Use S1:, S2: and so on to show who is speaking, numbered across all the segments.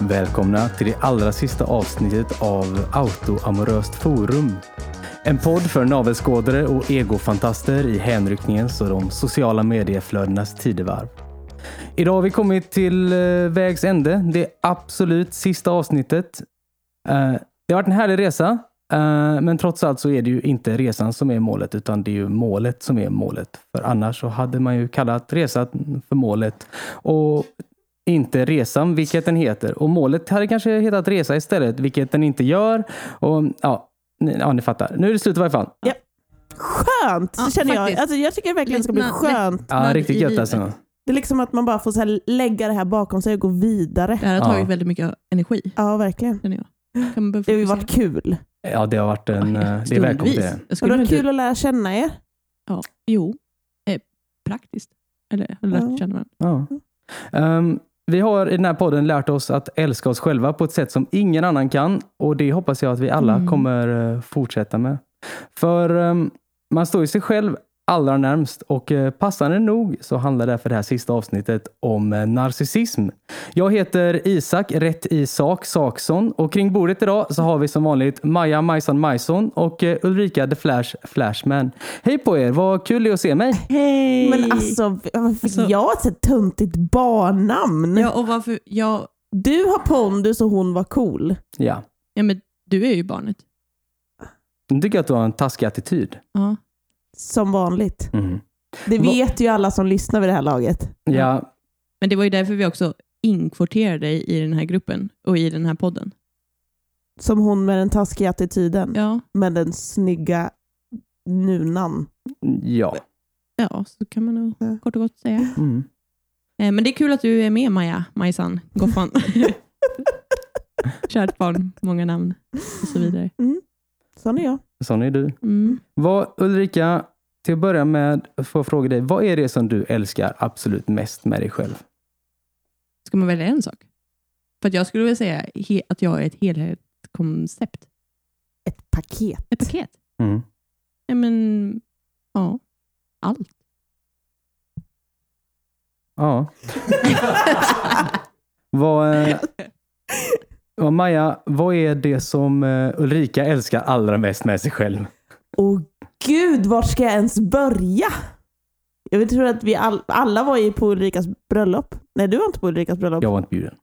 S1: Välkomna till det allra sista avsnittet av Autoamoröst forum. En podd för navelskådare och egofantaster i hänryckningens och de sociala medieflödenas tidevarv. Idag har vi kommit till eh, vägs ände. Det absolut sista avsnittet. Eh, Det har varit en härlig resa, eh, men trots allt så är det ju inte resan som är målet, utan det är ju målet som är målet. För annars så hade man ju kallat resan för målet och inte resan, vilket den heter. Och målet hade kanske hetat resa istället, vilket den inte gör. Och ja, ni, ja, ni fattar. Nu är det slut i varje fall.
S2: Skönt
S3: Ja,
S2: känner jag.
S3: faktiskt.
S2: Alltså, jag tycker verkligen det ska bli
S3: Lättnad-
S2: skönt.
S1: Ja,
S3: Lättnad
S1: riktigt
S3: i
S1: gött
S3: livet.
S1: alltså.
S2: Det är liksom att man bara får så här lägga det här bakom sig och gå vidare.
S3: Det här har
S1: Ja.
S3: tagit väldigt mycket energi,
S2: Ja, verkligen.
S3: känner jag. Kan man börja
S2: Det har ju
S3: fokusera?
S2: varit kul.
S1: Ja, det har varit en... eh, Det är välkommet till
S3: Stundvis.
S1: det.
S3: Jag
S2: Och
S3: skulle
S2: det var
S3: inte-
S2: kul att lära känna er.
S3: Ja, jo. Eh, praktiskt. Eller
S2: Ja.
S3: har lärt känna varandra.
S1: Ja. Ehm, vi har i den här podden lärt oss att älska oss själva på ett sätt som ingen annan kan. Och det hoppas jag att vi alla
S3: Mm.
S1: kommer eh, fortsätta med. För ehm, man står ju sig själv allra närmst och eh, passande nog så handlar därför det här sista avsnittet om eh, narcissism. Jag heter Isak, rätt i sak, Saksson och kring bordet idag så har vi som vanligt Maja Majsan Majson och eh, Ulrika The Flash Flashman. Hej på er, vad kul det är att se mig.
S3: Hej!
S2: Men alltså, varför fick
S3: Alltså-
S2: jag ett så töntigt barnnamn?
S3: Ja, och varför... Ja,
S2: Du har pondus och hon var cool.
S1: Ja,
S3: ja, men du är ju barnet.
S1: nu tycker jag att du har en taskig attityd.
S3: Ja.
S2: Som vanligt.
S1: Mhm.
S2: Det
S1: Va-
S2: vet ju alla som lyssnar vid det här laget.
S1: Ja,
S3: Men det var ju därför vi också inkvoterade dig i den här gruppen och i den här podden.
S2: Som hon med den taskiga attityden,
S3: Ja,
S2: men den snygga nunan.
S1: ja.
S3: ja så kan man nog
S2: Ja.
S3: kort och gott säga.
S1: Mm.
S3: Eh, men det är kul att du är med Maja, Majsan, Goffan. Kärt barn, många namn och så vidare.
S2: Mm. Sån är jag.
S1: Sån är du.
S3: Mm.
S1: Vad, Ulrika, till att börja med får jag fråga dig, vad är det som du älskar absolut mest med dig själv?
S3: Ska man välja en sak? För att jag skulle vilja säga he- att jag är ett helhetskoncept.
S2: Ett paket.
S3: Ett paket.
S1: Mm.
S3: Ja, men, ja. Allt.
S1: Ja. vad, eh, vad, Maja, vad är det som eh, Ulrika älskar allra mest med sig själv?
S2: Åh gud, vart ska jag ens börja? Jag vill tro att vi all, alla var ju på Ulrikas bröllop. Nej, du var inte på Ulrikas bröllop.
S1: Jag var inte bjuden.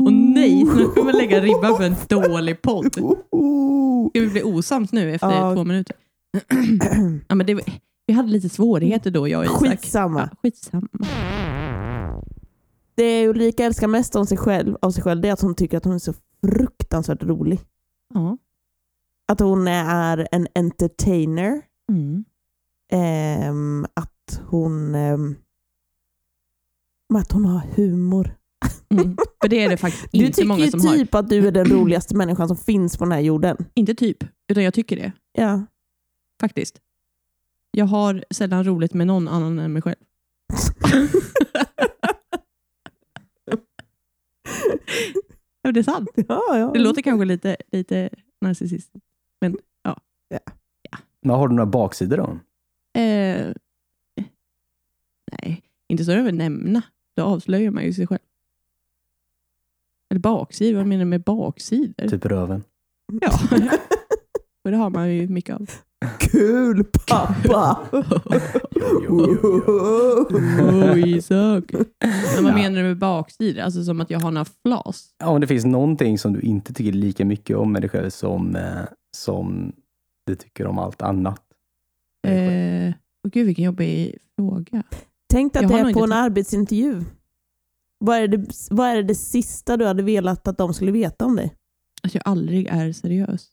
S3: Och nej, nu kommer jag lägga ribban för en dålig podd. Ska vi bli osams nu efter
S2: Ja.
S3: två minuter? ja, men det, var- vi hade lite svårigheter då, jag och Isak.
S2: Skitsamma.
S3: Ja, skitsamma.
S2: Det Ulrika älskar mest om sig själv, av sig själv det är att hon tycker att hon är så fruktansvärt rolig.
S3: Ja.
S2: Att hon är en entertainer.
S3: Mm.
S2: Ehm, att hon... ehm, men att hon har humor.
S3: Mm. För det är det faktiskt
S2: Du
S3: inte
S2: tycker
S3: många
S2: ju
S3: som har.
S2: typ att du är den roligaste människan som finns på den här jorden.
S3: Inte typ, utan jag tycker det.
S2: Ja.
S3: Faktiskt. Jag har sällan roligt med någon annan än mig själv. Ja, det är sant.
S2: ja, ja.
S3: Det låter kanske lite, lite narcissistiskt.
S1: Men har du några baksidor då?
S3: Eh, nej, inte så jag vill nämna. Då avslöjar man ju sig själv. Eller baksidor, vad menar du med baksidor?
S1: Typ röven.
S3: Ja. Och det har man ju mycket av.
S2: Kul pappa!
S3: Oj, Isak. Men vad
S1: Ja.
S3: menar du med baksidor? Alltså som att jag har några flas?
S1: Ja, om det finns någonting som du inte tycker lika mycket om med dig själv som, eh, som du tycker om allt annat. med dig själv.
S3: Eh, och gud, vilken jobbig fråga.
S2: Tänk dig att
S3: Jag
S2: det
S3: har
S2: är
S3: nog
S2: på en
S3: inte
S2: arbetsintervju. Vad är, det, vad är det sista du hade velat att de skulle veta om dig?
S3: Att jag aldrig är seriös.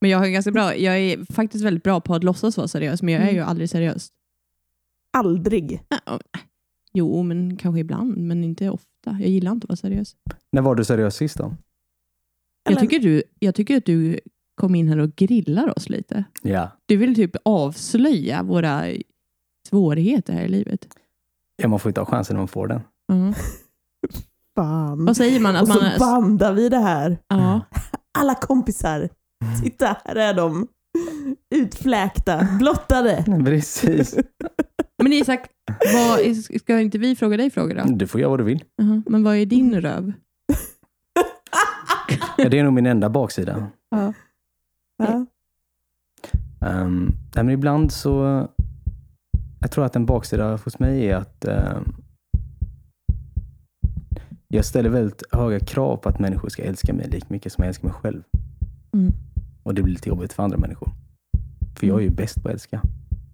S3: Men jag, har ju ganska bra, jag är faktiskt väldigt bra på att låtsas vara seriös, men jag är ju aldrig seriös.
S2: Aldrig.
S3: Nej, ja, nej. Äh, Jo, men kanske ibland, men inte ofta. Jag gillar inte att vara seriös.
S1: När var du seriös sist då?
S2: Eller-
S3: Jag tycker, du, jag tycker att du kom in här och grillar oss lite.
S1: Ja.
S3: Du vill typ avslöja våra svårigheter här i livet.
S1: ja, man får ju ta chansen när man får den.
S3: Ja.
S2: Fan.
S3: Vad säger man? Att
S2: Mm. Och
S3: man
S2: så bandar vi det här.
S3: ja.
S2: Alla kompisar. Titta, här är de. Utfläkta, blottade.
S1: Precis.
S3: Men Isak, Vad är, ska inte vi fråga dig frågor då?
S2: Mm.
S1: Du får göra vad du vill.
S3: Jaha, Men vad är din röv?
S1: Ja, det är nog min enda baksida.
S3: Ja.
S2: Ja.
S1: Ehm, nej, men ibland så... Jag tror att en baksida hos mig är att ehm, jag ställer väldigt höga krav på att människor ska älska mig lika mycket som jag älskar mig själv.
S3: Mm.
S1: Och det blir lite jobbigt för andra människor. För jag är ju bäst på att älska.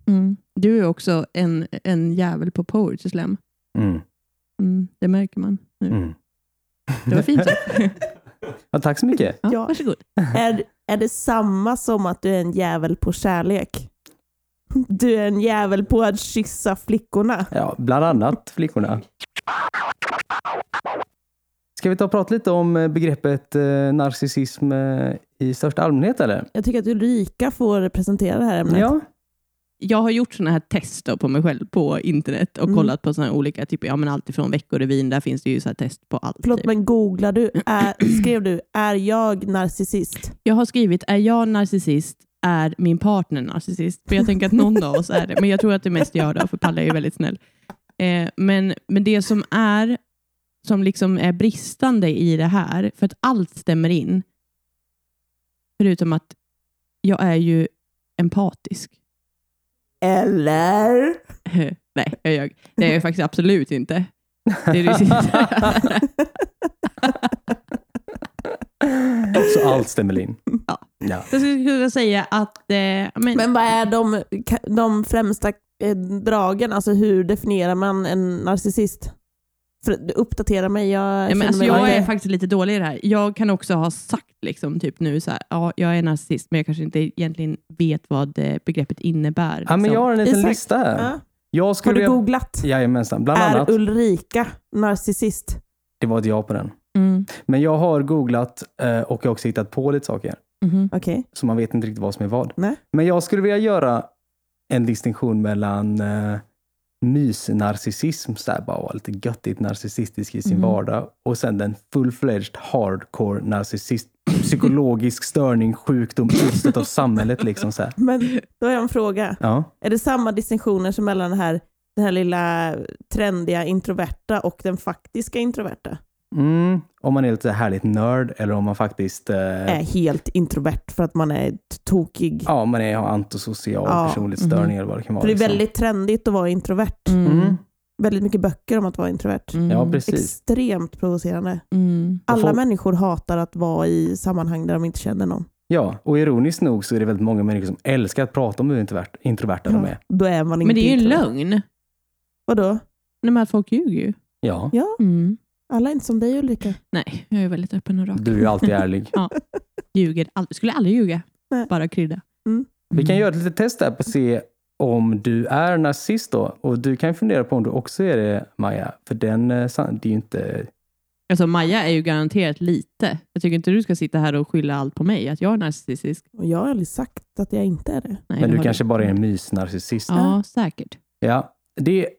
S3: Mm. Du är också en, en jävel på poetry slam.
S1: Mm,
S3: Mm. Det märker man nu.
S1: mm.
S3: Det var fint sagt.
S1: Ja, tack så mycket.
S3: Ja,
S2: Ja.
S3: Varsågod.
S2: Är, är det samma som att du är en jävel på kärlek? Du är en jävel på att kyssa flickorna.
S1: Ja, bland annat flickorna. Ska vi ta och prata lite om eh, begreppet eh, narcissism eh, i största allmänhet eller?
S2: Jag tycker att Ulrika får presentera det här ämnet.
S1: Ja.
S3: Jag har gjort sådana här tester på mig själv på internet och
S2: Mm.
S3: kollat på sådana här olika, typ, ja, men alltifrån Veckorevyn, där finns det ju så här test på allt.
S2: Förlåt,
S3: typ.
S2: men googlar du, är, skrev du är jag narcissist?
S3: Jag har skrivit, är jag narcissist? Är min partner narcissist? För jag tänker att någon av oss är det, men jag tror att det är mest jag då, för Palle är ju väldigt snäll. Eh, men, men det som är som liksom är bristande i det här, för att allt stämmer in, förutom att jag är ju empatisk.
S2: Eller?
S3: Nej, jag ljög. Det är jag faktiskt absolut inte. Det är det sista.
S1: Så allt stämmer in.
S3: Ja.
S1: ja.
S3: Jag skulle kunna säga att... Eh, men,
S2: Men vad är de, de främsta eh, dragen? Alltså hur definierar man en narcissist? För, uppdatera mig, jag
S3: Ja, men
S2: känner
S3: alltså
S2: mig
S3: jag
S2: inte-
S3: är faktiskt lite dålig i det här. Jag kan också ha sagt liksom, typ nu så här, ja, jag är narcissist, men jag kanske inte egentligen vet vad eh, begreppet innebär.
S1: ja, men
S3: liksom.
S1: jag har en liten
S2: Isak.
S1: lista här.
S2: Ja.
S1: Jag
S2: Har
S1: skulle
S2: du
S1: vilja-
S2: googlat?
S1: Jajamensan, bland
S2: Är
S1: annat.
S2: Ulrika narcissist?
S1: Det var ett ja på den.
S3: Mm.
S1: Men jag har googlat eh, och jag har också hittat på lite saker.
S3: Mhm.
S2: Okej.
S1: Så man vet inte riktigt vad som är vad.
S2: Nej.
S1: Men jag skulle vilja göra en distinktion mellan eh, mysnarcissism, så här, bara vara lite göttigt narcissistisk i sin
S2: Mm.
S3: Mhm.
S1: vardag, och sen den full-fledged hardcore narcissist, psykologisk störning, sjukdom, utstött av samhället. Liksom, så här.
S2: Men då har jag en fråga.
S1: Ja.
S2: Är det samma distinktioner som mellan den här, den här lilla trendiga introverta och den faktiska introverta?
S1: Mm. Om man är lite härligt nörd eller om man faktiskt eh,
S2: Är helt introvert för att man är t- tokig.
S1: ja, man är, har antisocial
S2: Ja.
S1: personlighetsstörning
S3: Mhm.
S1: eller vad det kan vara.
S2: för det är
S1: liksom.
S2: väldigt trendigt att vara introvert.
S3: Mm.
S1: Mm.
S2: Väldigt mycket böcker om att vara introvert.
S3: Mm.
S1: Ja, precis.
S2: Extremt provocerande.
S3: Mm.
S2: Alla
S1: folk-
S2: människor hatar att vara i sammanhang där de inte känner någon.
S1: Ja, och ironiskt nog så är det väldigt många människor som älskar att prata om hur introvert, introverta de är.
S2: Då är man inte
S3: Men det är ju en
S2: introvert.
S3: lögn.
S2: Vadå?
S3: Nej, men att folk ljuger ju.
S1: Ja,
S3: Mm.
S2: Alla är inte som dig Ulrika.
S3: Nej, jag är väldigt öppen och rak.
S1: du är ju alltid ärlig.
S3: Ljuger aldrig. Skulle aldrig ljuga.
S2: Nej.
S3: Bara krydda.
S2: Mm.
S1: Vi kan göra ett litet test där på att se om du är narcissist då. Och du kan ju fundera på om du också är det, Maja. För den, eh, san- det är ju inte...
S3: Alltså Maja är ju garanterat lite. Jag tycker inte du ska sitta här och skylla allt på mig, att jag är narcissistisk.
S2: Och jag har aldrig sagt att jag inte är det.
S3: Nej,
S1: Men
S3: det
S1: du
S3: har
S1: kanske bara är en mysnarcissist.
S3: Ja, säkert.
S1: Ja, det är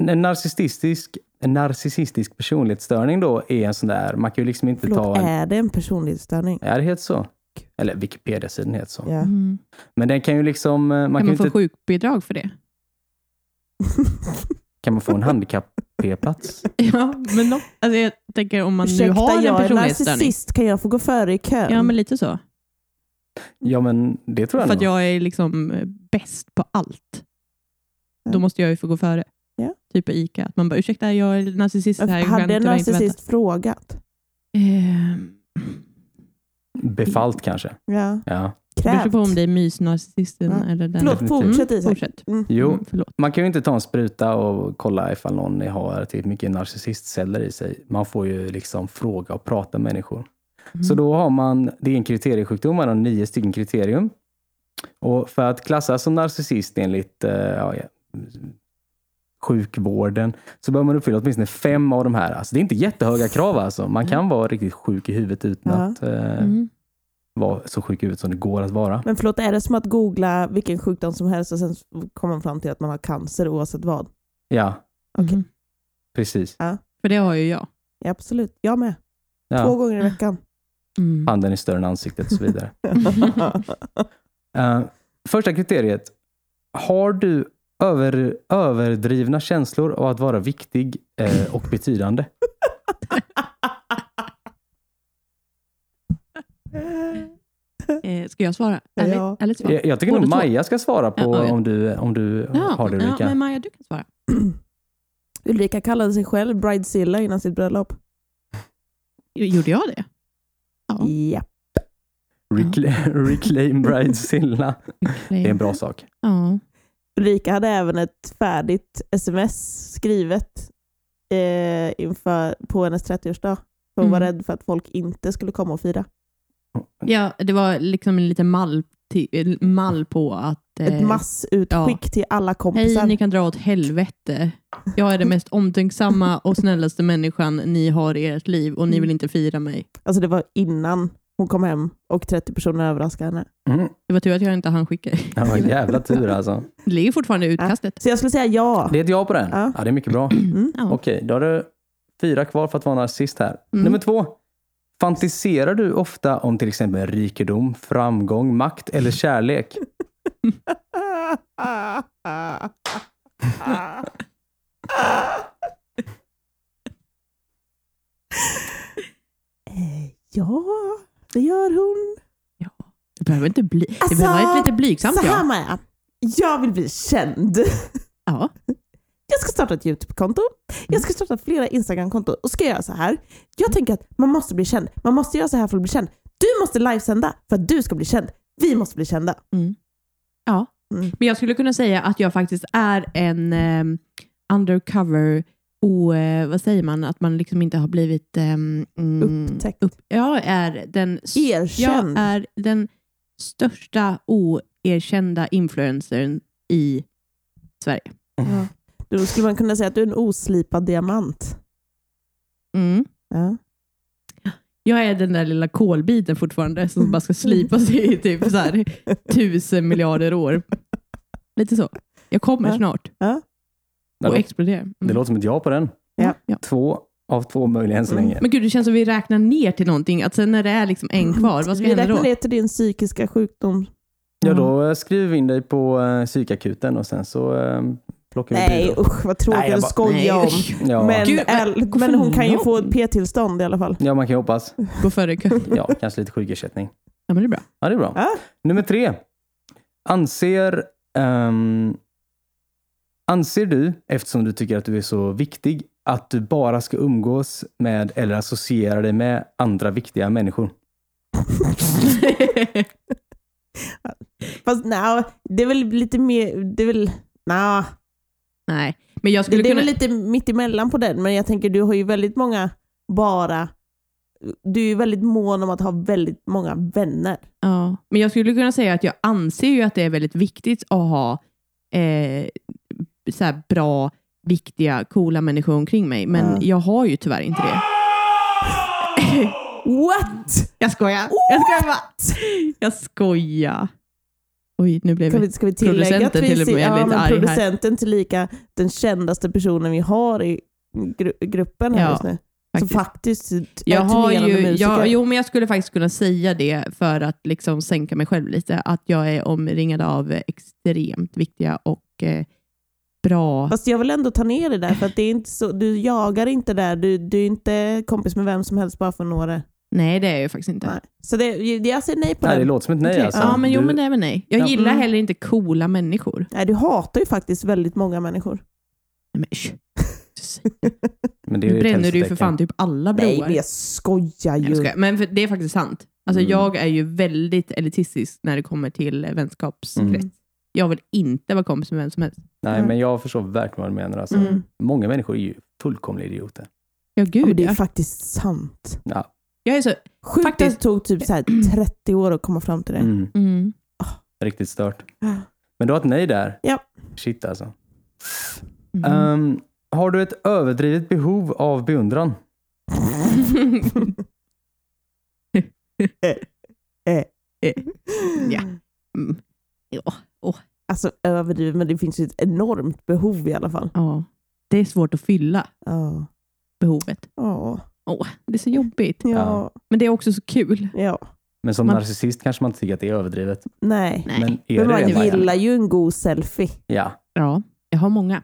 S1: en narcissistisk, en narcissistisk personlighetsstörning då är en sån där, man kan ju liksom inte
S2: Förlåt,
S1: ta en...
S2: är det en personlighetsstörning?
S1: Är det helt så? Eller Wikipedia-sidan heter så.
S2: Ja.
S3: Mm.
S1: Men den kan ju liksom... eh, Man
S3: Kan
S1: kan,
S3: man
S1: ju
S3: få
S1: inte,
S3: sjukbidrag för det?
S1: kan man få en handikapp-p-plats?
S3: Ja, men no. alltså jag tänker om man nu
S2: Ursäkta,
S3: har en
S2: jag är
S3: personlighetsstörning.
S2: narcissist. Kan jag få gå före i kön?
S3: Ja, men lite så.
S1: Ja, men det tror jag
S3: För att
S1: nog.
S3: jag är liksom eh, bäst på allt. Då
S2: Ja.
S3: måste jag ju få gå före.
S2: Ja.
S3: Typ på ICA. Att man bara, ursäkta, jag är narcissist här. Jag kan
S2: Hade en
S3: tyvärr inte
S2: narcissist frågat?
S3: vänta. Eh,
S1: Befallt kanske.
S2: Ja.
S1: Ja.
S3: beror
S2: Krävt.
S3: på om det är mysnarcissisten
S2: Ja.
S3: eller den.
S2: Förlåt,
S1: Definitivt.
S2: fortsätt Isak.
S3: Fortsätt.
S2: Mm.
S1: Jo,
S3: Mm, förlåt.
S1: man kan ju inte ta en spruta och kolla ifall någon har tillräckligt mycket narcissistceller i sig. Man får ju liksom fråga och prata med människor.
S3: Mm.
S1: Så då har man, det är en kriteriesjukdom, man har nio stycken kriterium. Och för att klassas som narcissist enligt eh, ja, ja, sjukvården så bör man uppfylla åtminstone fem av de här. Alltså, det är inte jättehöga krav alltså. Man kan vara riktigt sjuk i huvudet utan
S2: Ja.
S1: att eh,
S3: Mm.
S1: vara så sjuk i huvudet som det går att vara.
S2: Men förlåt, är det som att googla vilken sjukdom som helst och sen kommer man fram till att man har cancer oavsett vad?
S1: Ja,
S2: Okej.
S3: Mm.
S1: precis.
S3: För det har ju jag.
S2: Ja, absolut, jag med. Två
S1: Ja.
S2: gånger i veckan.
S3: Mm.
S1: Handen är större än ansiktet och så vidare. Eh, första kriteriet. Har du Över, överdrivna känslor av att vara viktig eh, och betydande.
S3: Eh, ska jag svara?
S2: Ja.
S3: Ärligt, ärligt svar.
S1: Jag, jag tycker nog
S3: Båda två.
S1: Maja ska svara på
S3: Ja, ja.
S1: om du, om du har det
S3: ja,
S1: Ulrika.
S3: men Maja, du kan svara.
S2: Ulrika kallade sig själv Bridezilla innan sitt bröllop.
S3: Gjorde jag det? Ja.
S2: Ja.
S1: Recla- Reclaim Bridezilla. Det är en bra sak.
S3: Ja.
S2: Ulrika hade även ett färdigt sms skrivet eh, inför, på hennes 30-årsdag. För Hon var
S3: Mm.
S2: rädd för att folk inte skulle komma och fira.
S3: ja, det var liksom en liten mall, ti- mall på att... eh,
S2: Ett massutskick till alla kompisar.
S3: Hej, ni kan dra åt helvete. Jag är den mest omtänksamma och snällaste människan ni har i ert liv och ni vill inte fira mig.
S2: Alltså det var innan hon kom hem och 30 personer överraskade henne.
S1: Mm.
S3: Det var tur att jag inte hann skicka.
S1: Det var en jävla tur alltså.
S3: Det ligger fortfarande i utkastet.
S2: Så jag skulle säga ja.
S1: Det är ett ja på den.
S2: Ja.
S1: Ja. det är mycket bra.
S2: Mm.
S3: Ja.
S1: Okej, då har du fyra kvar för att vara narcissist här.
S3: Mm.
S1: Nummer två. Fantiserar du ofta om till exempel rikedom, framgång, makt eller kärlek?
S2: Eh, ja, det gör hon.
S3: Det behöver inte bli... Det
S2: Alltså,
S3: behöver vara ett lite blygsamt
S2: Så här
S3: ja.
S2: Maja, jag vill bli känd.
S3: ja.
S2: Jag ska starta ett YouTube-konto. Jag ska starta flera Instagram-konton och ska göra så här. Jag tänker att man måste bli känd. Man måste göra så här för att bli känd. Du måste livesända för att du ska bli känd. Vi måste bli kända.
S3: Ja.
S2: Mm.
S3: Men jag skulle kunna säga att jag faktiskt är en ehm, undercover och eh, vad säger man, att man liksom inte har blivit ehm, mm,
S2: Upptäckt.
S3: Upp, jag är den s-
S2: Erkänd.
S3: Jag är den största oerkända influencern i Sverige.
S2: Då skulle man kunna säga att du är en oslipad diamant.
S3: Mm.
S2: Ja.
S3: Jag är den där lilla kolbiten fortfarande som bara ska slipas i typ så här, tusen miljarder år. Lite så. Jag kommer
S2: Ja.
S3: snart
S1: Det,
S3: och
S1: lå-
S3: exploderar. Mm.
S1: det låter som ett ja på den.
S2: Ja.
S3: Ja.
S1: Två av två möjliga än så länge.
S3: Men gud, det känns som vi räknar ner till någonting. Att sen när det är liksom en kvar, vad ska
S2: Vi
S3: hända då?
S2: räknar ner till din psykiska sjukdom.
S1: Ja, då eh,
S3: Mm.
S1: skriv in dig på eh, psykakuten och sen så eh, plockar vi
S2: Nej
S1: bidrag.
S2: usch vad tråkigt
S1: Nej, jag
S2: att
S1: bara-
S2: skoja om.
S1: Ja.
S2: Men,
S3: Gud, vad-
S2: äl-
S3: gå
S2: men
S3: för
S2: hon kan ju få ett
S3: långt.
S2: p-tillstånd i alla fall.
S1: ja, man kan ju hoppas.
S3: Gå före kö.
S1: Ja, kanske lite sjukersättning.
S3: Ja, men det är bra.
S1: Ja, det är bra.
S2: Ja.
S1: Nummer tre. Anser, ehm, anser du, eftersom du tycker att du är så viktig, att du bara ska umgås med eller associera dig med andra viktiga människor?
S2: Fast nej, det är väl lite mer... Det är väl, nej,
S3: Nej, men jag
S2: det,
S3: skulle
S2: det är
S3: kunna...
S2: väl lite mitt emellan på den, men jag tänker du har ju väldigt många bara... Du är ju väldigt mån om att ha väldigt många vänner.
S3: Ja. Men jag skulle kunna säga att jag anser ju att det är väldigt viktigt att ha eh, så här bra, viktiga, coola människor omkring mig. Men
S2: Ja.
S3: jag har ju tyvärr inte det.
S2: What?
S3: Jag skojar. Jag skojar bara. Jag skojar. Oj, nu blev
S2: Ska
S3: vi...
S2: vi, ska vi tillägga att
S3: Producenten
S2: vi
S3: till och med är
S2: ja,
S3: lite
S2: men
S3: arg här.
S2: producenten tillika den kändaste personen vi har i gru gruppen här
S3: Ja,
S2: just nu.
S3: faktiskt.
S2: Så faktiskt är
S3: Jag har
S2: turnerande
S3: ju,
S2: musiker.
S3: jag, jo, men jag skulle faktiskt kunna säga det för att liksom sänka mig själv lite. Att jag är omringad av extremt viktiga och eh, bra...
S2: Fast jag vill ändå ta ner det där, för att det är inte så, du jagar inte där. Du, du är inte kompis med vem som helst bara för några.
S3: Nej, det är jag ju faktiskt inte.
S2: Nej. Så det, jag säger nej på
S1: Nej,
S2: den.
S1: det låter som ett nej
S2: Okej.
S1: alltså.
S3: ja, men jo,
S1: Du-
S3: men det är väl nej. Jag
S1: Ja.
S3: gillar
S2: Mm.
S3: heller inte coola människor.
S2: Nej, du hatar ju faktiskt väldigt många människor.
S3: Nej, men, shh. Jesus.
S1: men det är
S3: Nu
S1: ett
S3: bränner du ju för
S1: hälsotecken.
S3: fan typ alla broar.
S2: Nej, men jag skojar
S3: Nej, jag
S2: ju.
S3: skojar. men för, det är faktiskt sant. Alltså,
S1: Mm.
S3: Jag är ju väldigt elitistisk när det kommer till eh, vänskapskrets.
S1: Mm.
S3: Jag vill inte vara kompis med vem som helst.
S1: Nej, men jag förstår verkligen vad du menar. Alltså.
S2: Mm.
S1: Många människor är ju fullkomliga idioter.
S3: Ja,
S2: Ja, men
S3: gud
S2: det är
S3: ja.
S2: faktiskt sant.
S1: Ja.
S3: Jag är så...
S2: Sjukt att det
S3: Faktiskt.
S2: tog typ så här 30 år att komma fram till det.
S1: Mm.
S3: Mm.
S1: Riktigt stört.
S2: Ja.
S1: Men du har ett nej där.
S2: Ja.
S1: Shit alltså.
S3: Mm.
S1: Ehm, har du ett överdrivet behov av beundran? Ehm.
S2: Eh,
S3: Eh, Ja. Mm. Ja.
S2: Alltså överdrivet, men det finns ju ett enormt behov i alla fall.
S3: ja. Det är svårt att fylla
S2: Ja.
S3: behovet.
S2: Ja.
S3: Åh, det är så jobbigt.
S2: Ja.
S1: Ja.
S3: Men det är också så kul.
S2: ja.
S1: Men som
S3: Man-
S1: narcissist kanske man inte tycker att det är överdrivet.
S2: Nej.
S3: Nej.
S1: Men är
S2: Men
S1: det
S2: man
S1: det, Maja?
S2: gillar ju en god selfie.
S1: Ja.
S3: Ja, jag har många.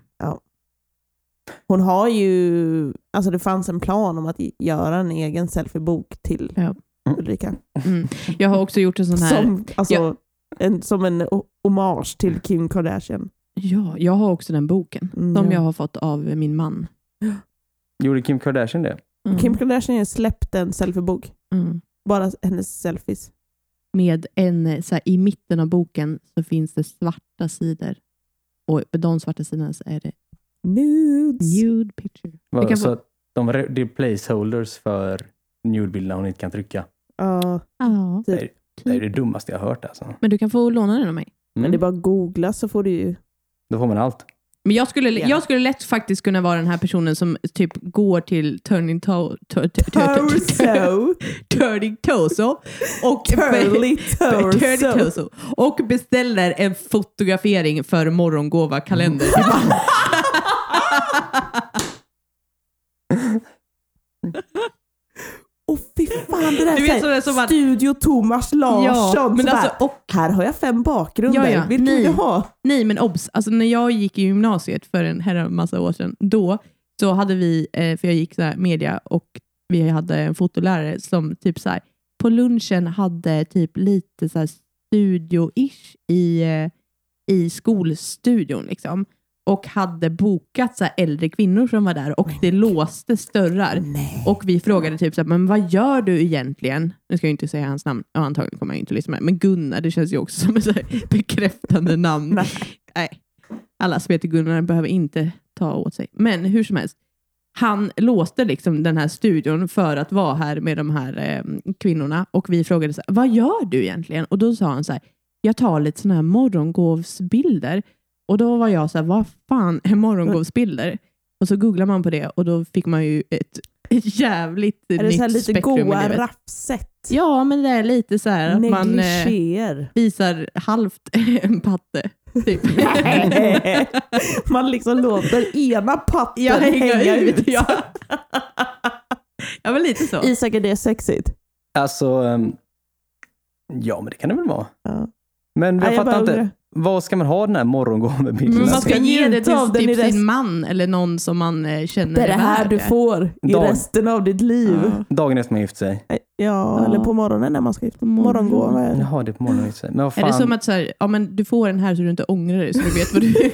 S2: Hon har ju, alltså det fanns en plan om att göra en egen selfiebok till
S3: Ja.
S2: Ulrika.
S3: Mm. Jag har också gjort en sån här...
S2: Som, alltså,
S3: Ja.
S2: en, som en o- hommage till Kim Kardashian.
S3: Ja, jag har också den boken.
S2: Mm,
S3: Som
S2: ja.
S3: jag har fått av min man.
S1: Gjorde Kim Kardashian det?
S3: Mm.
S2: Kim Kardashian släppte en selfiebok.
S3: Mm.
S2: Bara hennes selfies.
S3: Med en, eh, så här, I mitten av boken så finns det svarta sidor. Och på de svarta sidorna så är det
S2: Nudes.
S3: nude picture.
S1: Var,
S3: Vi kan
S1: så
S3: få-
S1: att de, re- det är placeholders för nudebilderna hon inte kan trycka.
S2: Ja,
S3: Ja, Typ.
S1: Det är, det är det dummaste jag har hört alltså.
S3: Men du kan få låna den av mig.
S2: Mm. men det är
S1: Mm.
S2: bara att googla så får du ju...
S1: Då får man allt.
S3: Men jag skulle,
S2: Gärna.
S3: jag skulle lätt faktiskt kunna vara den här personen som typ går till Turning Toe... to- to- to- to-
S2: Torso.
S3: Turning Torso. Och,
S2: Curly
S3: Turning
S2: torso.
S3: Torso. Och beställer en fotografering för morgongåva kalender. till mannen.
S2: Åh fy fan, det där
S3: Du
S2: är
S3: vet
S2: så här,
S3: sådär som att-
S2: Studio Thomas Larsson.
S3: Ja, men
S2: så här,
S3: alltså, och,
S2: här har jag fem bakgrunder,
S3: Ja, ja,
S2: vilken
S3: nej.
S2: vill du ha?
S3: nej men obs, alltså, när jag gick i gymnasiet för en herra massa år sedan, då så hade vi, eh, för jag gick så här, media och vi hade en fotolärare som typ så här, på lunchen hade typ lite så här studio-ish i, eh, i skolstudion. Liksom. Och hade bokat så här äldre kvinnor som var där och det låstes dörrar.
S2: Nej.
S3: Och vi frågade typ så här, men vad gör du egentligen? Nu ska jag ju inte säga hans namn, ja, antagligen kommer jag inte att lyssna med. Men Gunnar, det känns ju också som ett så här bekräftande namn.
S2: Nej.
S3: Nej. Alla som heter Gunnar behöver inte ta åt sig. Men hur som helst, han låste liksom den här studion för att vara här med de här eh, kvinnorna. Och vi frågade, så här, vad gör du egentligen? Och då sa han så här, jag tar lite sådana här morgongåvsbilder. Och då var jag så här, vad fan är morgongåvsbilder? Och så googlar man på det och då fick man ju ett jävligt
S2: Är det
S3: nytt
S2: så här lite
S3: spektrum i
S2: goa
S3: livet.
S2: raffset?
S3: Ja, men det är lite så här att man eh,
S2: Negligéer.
S3: visar halvt en patte. Typ.
S2: man liksom låter ena patten
S3: jag
S2: hänga
S3: hänger
S2: ut.
S3: ut. Ja. ja, men lite så.
S2: Isak, är det sexigt?
S1: Alltså, ehm, ja men det kan det väl vara.
S2: Ja.
S1: Men jag
S2: Nej,
S1: fattar
S2: bara
S1: inte,
S2: undrar.
S1: vad ska man ha den här morgongåvabilden?
S3: Men Mm, man
S1: Alltså,
S3: ska ge det
S2: njuta av
S3: till
S2: den i
S3: typ
S2: rest-
S3: sin man eller någon som man eh, känner
S2: Det är det här
S3: värd.
S2: du får i
S1: Dag.
S2: resten av ditt liv. Eh,
S3: Ja.
S1: Dagen efter man gift sig.
S2: Ja, eller på morgonen när man ska gifta
S3: morgonen.
S2: morgongåva.
S1: Jaha, det är på morgonen man gift sig. Men vad
S3: Är
S1: fan.
S3: det som att så här, ja, men du får den här så du inte ångrar dig så du vet vad du...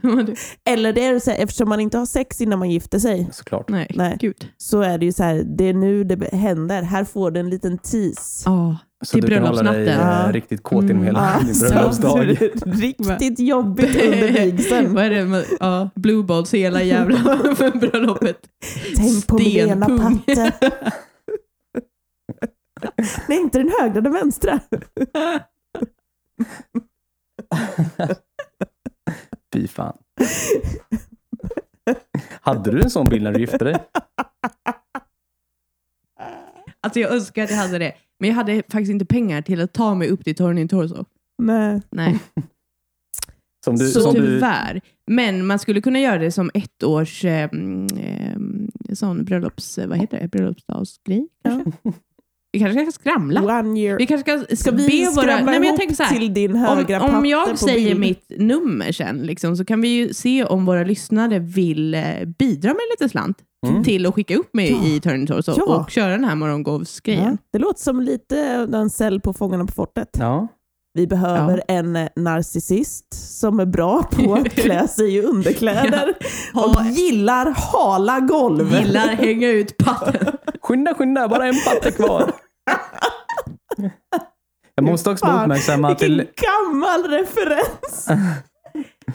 S3: vad du
S2: Eller det är så här, eftersom man inte har sex innan man gifter sig
S1: Såklart.
S3: nej,
S2: Nej.
S3: gud.
S2: så är det ju så här, det är nu det händer. Här får du en liten tease.
S3: Ja,
S1: Så
S3: Till
S1: du kan hålla dig eh,
S3: bröllopsnatten.
S2: Ja.
S1: riktigt kåt genom
S3: Mm.
S1: hela din
S2: så
S1: bröllopsdag.
S2: det är riktigt jobbigt under vigseln.
S3: Vad är det? med- Ja, blue balls hela jävla bröllopet.
S2: Tänk på min ena
S3: Stenpung.
S2: patte. Nej, inte den högra, den vänstra.
S1: Fy fan. Hade du en sån bild när du gifte dig?
S3: Alltså jag önskar att jag hade det. Men jag hade faktiskt inte pengar till att ta mig upp till Tornin Torso.
S2: Nej.
S3: Nej,
S1: Som du,
S3: så
S1: som du,
S3: tyvärr. Men man skulle kunna göra det som ett års eh, mm, eh, sån bröllops... eh, Vad heter det? Bröllopsdagsgrej? kanske? Vi kanske ska skramla.
S2: One year.
S3: Vi kanske ska,
S2: Ska vi
S3: be våra...
S2: skramla
S3: Nej, men jag
S2: ihop
S3: tänker så här.
S2: till din högra
S3: Om, om
S2: patte på
S3: jag säger
S2: bild?
S3: mitt nummer sen liksom, så kan vi ju se om våra lyssnare vill eh, bidra med lite slant
S1: Mm.
S3: till att skicka upp mig i Turning Torso
S2: Ja.
S3: och köra den här morgongåvsgrejen.
S2: Ja, Det låter som lite en cell på Fångarna på fortet.
S1: Ja.
S2: Vi behöver en eh, narcissist som är bra på att klä sig i underkläder
S3: Ha-
S2: och gillar hala golv.
S3: Gillar hänga ut patten.
S1: Skynda, skynda, bara en patte kvar. Jag måste också
S2: Fan,
S1: uppmärksamma att det,
S2: Vilken
S1: är-
S2: gammal referens!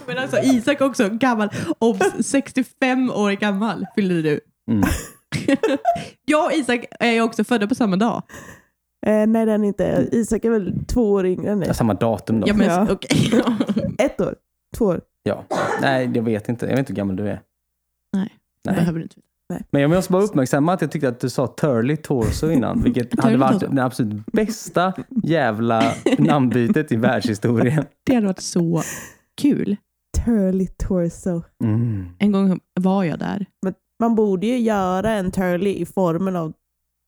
S3: Men alltså Isak också, gammal. Obs, 65 år gammal fyllde du.
S1: Mm.
S3: jag och Isak är ju också födda på samma dag.
S2: Eh, nej, den är inte. Isak är väl två år yngre än dig?
S1: Ja, samma datum då.
S3: Ja, men,
S2: Ja.
S3: okej.
S2: Ett år? Två år?
S1: Ja. Nej, jag vet inte. Jag vet inte hur gammal du är.
S3: Nej,
S1: Nej.
S3: behöver du inte.
S1: Men jag måste bara uppmärksamma att jag tyckte att du sa Turley Torso innan, vilket hade
S3: Turley
S1: varit
S3: Torso.
S1: det absolut bästa jävla namnbytet i världshistorien.
S3: Det hade varit så kul.
S2: Turly torso.
S1: Mm.
S3: En gång var jag där.
S2: Man borde ju göra en turly i formen av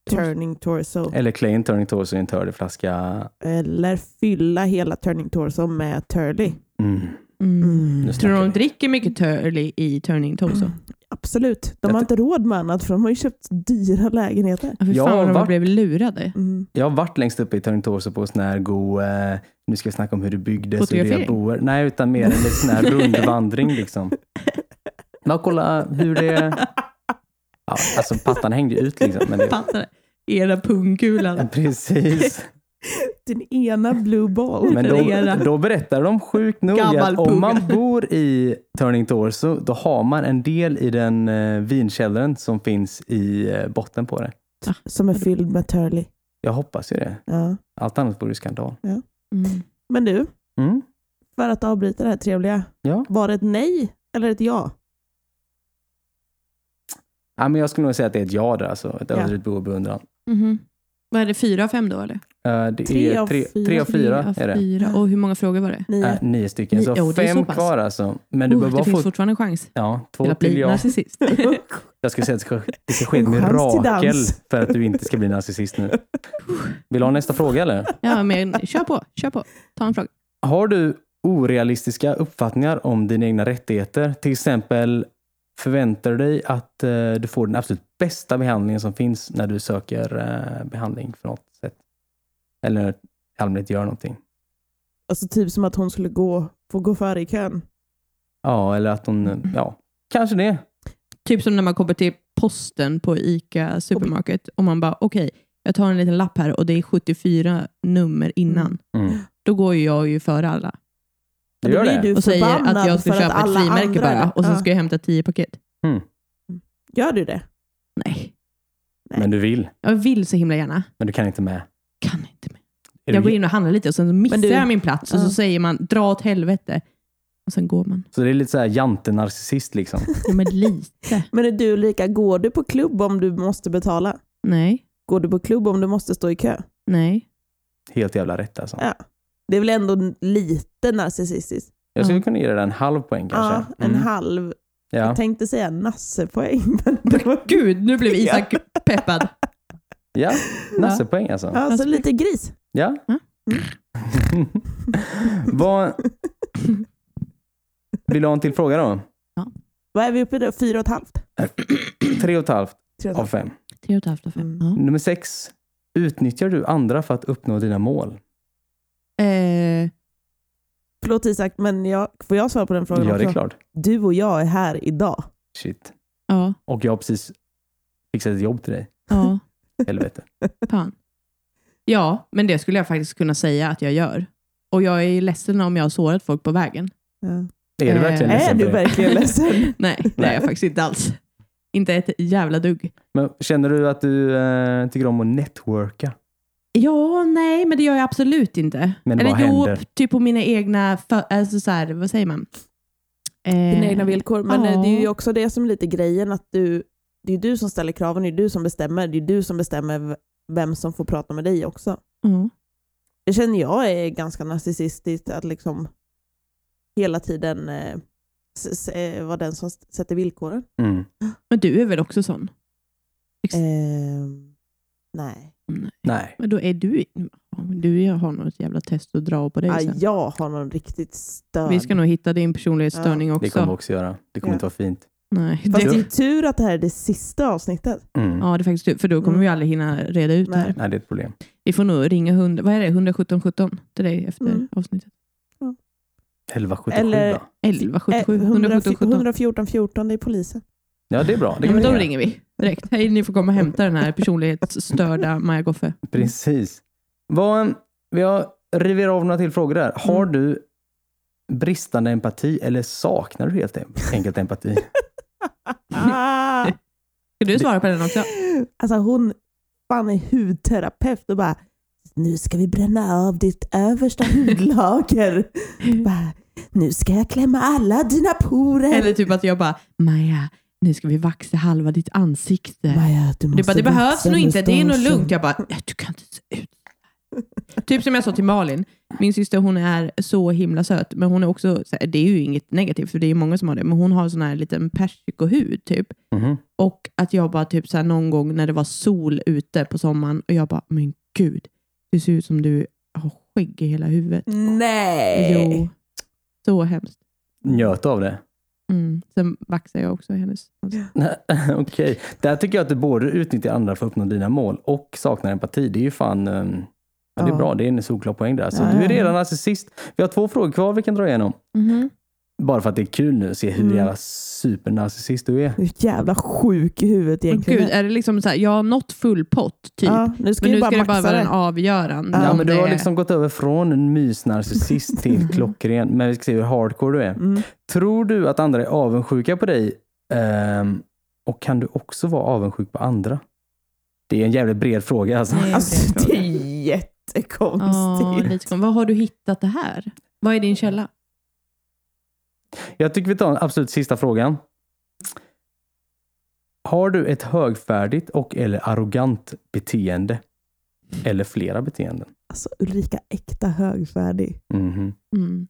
S2: turning torso.
S1: Eller Clayton Turning Torso i en tördig flaska.
S2: Eller fylla hela turning torso med turly.
S1: Mm.
S2: Mm.
S1: Nu
S3: Tror du
S1: snackar
S3: de
S1: vi.
S3: dricker mycket Turley i Turning Torso?
S2: Absolut. De har inte råd med annat för de har ju köpt dyra lägenheter.
S3: Ja, fy
S1: Ja,
S3: fan vad de
S1: va?
S3: blev lurade.
S2: Mm.
S1: Jag har varit längst uppe i Turning Torso på sån här god, eh, nu ska vi snacka om hur det byggdes och det
S3: Fotografering?
S1: boer. Nej, utan mer en liten sån här rundvandring liksom. Bara kolla hur det... Ja, alltså pattan hängde ju ut liksom. Men det...
S3: Fattar det? Era
S1: Mm.
S3: pungkulan.
S1: Precis.
S2: Den ena blue ball.
S1: Men då, då berättar de sjukt nog
S3: Gammal
S1: att om man
S3: pung.
S1: bor i Turning Torso, då har man en del i den eh, vinkällaren som finns i eh, botten på det.
S2: Som är fylld med turly.
S1: Jag hoppas ju det.
S2: Ja.
S1: Allt annat vore ju skandal.
S3: Mm.
S2: Men du,
S1: Mm.
S2: för att avbryta det här trevliga.
S1: Ja.
S2: Var det ett nej eller ett ja?
S1: Ja, men jag skulle nog säga att det är ett ja där alltså. Ett
S2: Ja.
S1: överdrivet behov och beundran.
S3: Mhm. Vad är det, fyra av fem då eller?
S1: Eh, det
S2: Tre
S1: är
S2: av
S1: tre,
S2: fyra.
S1: tre av fyra är det.
S3: Fyra. Och hur många frågor var det?
S2: Nej.
S1: Eh, nio stycken.
S3: Ni-
S1: så
S3: jo, det är
S1: fem
S3: så pass.
S1: kvar alltså. Men du
S3: Oh,
S1: behöver
S3: det
S1: bara
S3: finns
S1: få...
S3: fortfarande en chans
S1: Ja,
S3: till
S1: två
S3: att
S1: till
S3: bli
S1: jag.
S3: narcissist.
S1: Jag skulle säga att det ska, det ska ske ett
S2: En chans till
S1: mirakel
S2: dans.
S1: för att du inte ska bli narcissist nu. Vill du ha nästa fråga eller?
S3: ja, men kör på, kör på. Ta en fråga.
S1: Har du orealistiska uppfattningar om dina egna rättigheter? Till exempel förväntar du dig att eh, du får den absolut bästa behandlingen som finns när du söker eh, behandling för något sätt. Eller i allmänhet gör någonting.
S2: Alltså typ som att hon skulle gå, få gå före i kön.
S1: Ja, eller att hon, eh, ja, kanske det.
S3: Typ som när man kommer till posten på ICA Supermarket och man bara okej, jag tar en liten lapp här och det är 74 nummer innan.
S2: Mm.
S1: Mm.
S3: Då går ju jag ju före alla
S1: Du
S2: Då
S1: gör
S2: blir
S1: det.
S2: du
S3: och säger
S2: förbannad
S3: att jag ska
S2: för
S3: köpa ett
S2: alla
S3: frimärke
S2: andra-
S3: bara och sen
S2: Ja.
S3: ska jag hämta 10 paket.
S2: Gör du det?
S3: Nej,
S1: Men du vill,
S3: jag vill så himla gärna.
S1: men du kan inte med.
S3: Kan inte mer.
S1: Är
S3: Jag
S1: du,
S3: går in och handlar lite och sen så missar
S2: Men du-
S3: jag min plats och så
S2: Ja.
S3: säger man dra åt helvete. Och sen går man.
S1: så det är lite så här jante-narcissist liksom.
S3: Ja, men lite.
S2: Men är du lika, går du på klubb om du måste betala?
S3: Nej,
S2: Går du på klubb om du måste stå i kö?
S3: nej.
S1: Helt jävla rätt alltså.
S2: Ja. Det är väl ändå lite narcissistiskt?
S1: Jag skulle kunna ge dig en halv poäng
S2: Ja,
S1: kanske.
S2: en
S1: Mm.
S2: halv.
S1: Ja.
S2: Jag tänkte säga nassepoäng. Men det var,
S3: Gud, nu blev Isak peppad.
S1: ja, nassepoäng alltså.
S2: alltså lite gris.
S1: Ja.
S3: Ja.
S1: Vad... Vill du ha en till fråga då?
S2: Vad är vi uppe i då? Fyra och ett halvt?
S1: Tre och ett halvt
S2: Tre och
S1: av
S2: ett halvt.
S1: fem.
S3: Tre och ett halvt av fem.
S2: Mm.
S3: Ja.
S1: Nummer sex. Utnyttjar du andra för att uppnå dina mål?
S3: Eh,
S2: Förlåt Isak, men jag, får jag svara på den frågan
S1: Ja, det är
S2: också?
S1: klart.
S2: Du och jag är här idag.
S1: Shit.
S3: ja,
S1: Och jag har precis fixat ett jobb till dig.
S3: ja,
S1: Helvete.
S3: fan. Ja, men det skulle jag faktiskt kunna säga att jag gör. Och jag är ledsen om jag har sårat folk på vägen.
S2: Ja.
S1: Är du
S3: Eh,
S1: verkligen
S3: är
S1: ledsen för
S2: Är du
S1: det?
S2: verkligen ledsen?
S3: Nej, det är jag faktiskt inte alls. Inte ett jävla dugg.
S1: Men Känner du att du eh, tycker om att networka?
S3: Ja, nej, men det gör jag absolut inte.
S1: Men
S3: Eller
S1: vad
S3: jo,
S1: händer?
S3: typ på mina egna, för, alltså så här, vad säger man? Eh,
S2: Dina egna villkor. Men eh,
S3: Ja.
S2: det är ju också det som är lite grejen, att du, det är ju du som ställer kraven, det är ju du som bestämmer. Det är ju du som bestämmer v- vem som får prata med dig också.
S3: Ja.
S2: Det känner jag är ganska narcissistiskt, att liksom hela tiden eh, s- s- eh, vara den som s- sätter villkoren.
S1: Mm.
S3: Men du är väl också sån?
S2: Ehm, nej.
S3: Nej.
S1: Nej.
S3: Men då är du... Du har något jävla test att dra på dig
S2: Ah,
S3: sen.
S2: jag har någon riktigt störd.
S3: Vi ska nog hitta din personlighetsstörning
S1: Det
S3: också.
S1: kommer vi också göra. Det kommer
S2: Ja.
S1: inte vara fint.
S3: Nej,
S2: Fast det är
S3: det,
S2: ju tur att det här är det sista avsnittet.
S1: Mm.
S3: ja, det är faktiskt du. För då kommer
S2: Mm.
S3: vi aldrig hinna reda ut det här.
S2: Nej.
S1: Nej, det är ett problem.
S3: Vi får nog ringa hund, vad är det, 117 17 till dig efter
S2: Mm.
S3: avsnittet.
S1: 1177
S2: Eller-
S1: då.
S3: 11
S2: Eh,
S3: 77, 117 17.
S2: 114 14, det är polisen.
S1: Ja, det är bra. Det
S3: Ja,
S1: kan
S3: men
S1: vi
S3: då
S1: göra.
S3: ringer vi direkt. Hej, ni får komma och hämta den här personlighetsstörda Maja Goffe.
S1: Precis. Vad, vi har river av några till frågor där. Har
S2: Mm.
S1: du bristande empati eller saknar du helt em- enkelt empati?
S2: Ah!
S3: Ska du svara på den också?
S2: Alltså hon fan är hudterapeut och bara nu ska vi bränna av ditt översta hudlager. bara, nu ska jag klämma alla dina porer.
S3: Eller typ att jag bara, Maja, nu ska vi vaxa halva ditt ansikte.
S2: Maja, du
S3: Du
S2: måste
S3: bara, det
S2: vaxa
S3: behövs nog inte, det är nog
S2: mustaschen."
S3: lugnt. Jag bara, "Nej, du kan inte se ut Typ som jag sa till Malin, min syster hon är så himla söt, men hon är också, så här, det är ju inget negativt för det är ju många som har det, men hon har sån här liten persikohud typ.
S1: Mhm.
S3: Och att jag bara typ så här, någon gång när det var sol ute på sommaren och jag bara, men gud, det ser ut som du har skägg i hela huvudet.
S2: Nej!
S3: Jo, så hemskt.
S1: Njöt av det.
S3: Mm. Sen vaxar jag också hennes.
S1: Okej, där tycker jag att du både utnyttjar andra för att uppnå dina mål och saknar empati. Det är ju fan... ehm, Ja, det är
S3: Ja.
S1: bra, det är en solklar poäng där. Så
S2: Ja,
S1: du är
S2: ja, ja.
S1: redan narcissist. Vi har två frågor kvar vi kan dra igenom.
S3: Mhm.
S1: Bara för att det är kul nu att se hur
S2: Mm.
S1: jävla supernarcissist du är.
S2: Du är jävla sjuk i huvudet
S3: Men
S2: egentligen.
S3: Gud, är det liksom så här, jag har nått full pott typ.
S2: ja, nu ska
S3: Men
S2: vi
S3: nu
S2: bara
S3: ska det
S2: maxa
S3: bara vara en
S2: det.
S3: avgörande.
S1: Ja,
S3: om
S1: men du
S3: det
S1: har
S3: är-
S1: liksom gått över från en mysnarcissist till klockren. Men vi ska se hur hardcore du är.
S2: Mm.
S1: Tror du att andra är avundsjuka på dig? Ehm, och kan du också vara avundsjuk på andra? Det är en jävligt bred fråga alltså.
S3: Nej,
S2: Alltså, det
S3: fråga.
S2: är
S3: Ja,
S2: jättekonstigt.
S3: lite kom. Vad har du hittat det här? Vad är din källa?
S1: Jag tycker vi tar den absolut sista frågan. Har du ett högfärdigt och eller arrogant beteende? Eller flera beteenden?
S2: Alltså Ulrika, äkta högfärdig.
S1: Mhm.
S3: Mm.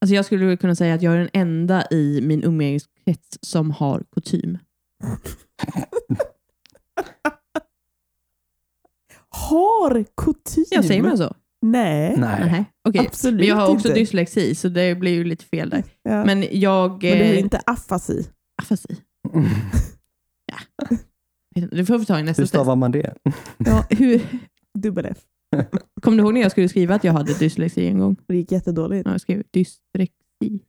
S3: Alltså jag skulle kunna säga att jag är den enda i min umgängeskrets som har kutym.
S2: Har kutym?
S3: Jag säger man så?
S2: Nej,
S1: Nej.
S3: Nej. Okej.
S2: absolut
S3: Men jag har också
S2: inte.
S3: dyslexi, så det blir ju lite fel där.
S2: Ja. Men,
S3: Men jag...
S2: du har
S3: eh,
S2: inte afasi.
S3: Afasi. Det får vi ta i nästa
S1: Hur
S3: test.
S1: stavar man det?
S3: Ja, hur...
S2: Dubbel F.
S3: Kommer du ihåg när jag skulle skriva att jag hade dyslexi en gång?
S2: Det gick jättedåligt.
S3: Ja, jag skrev dyslexi.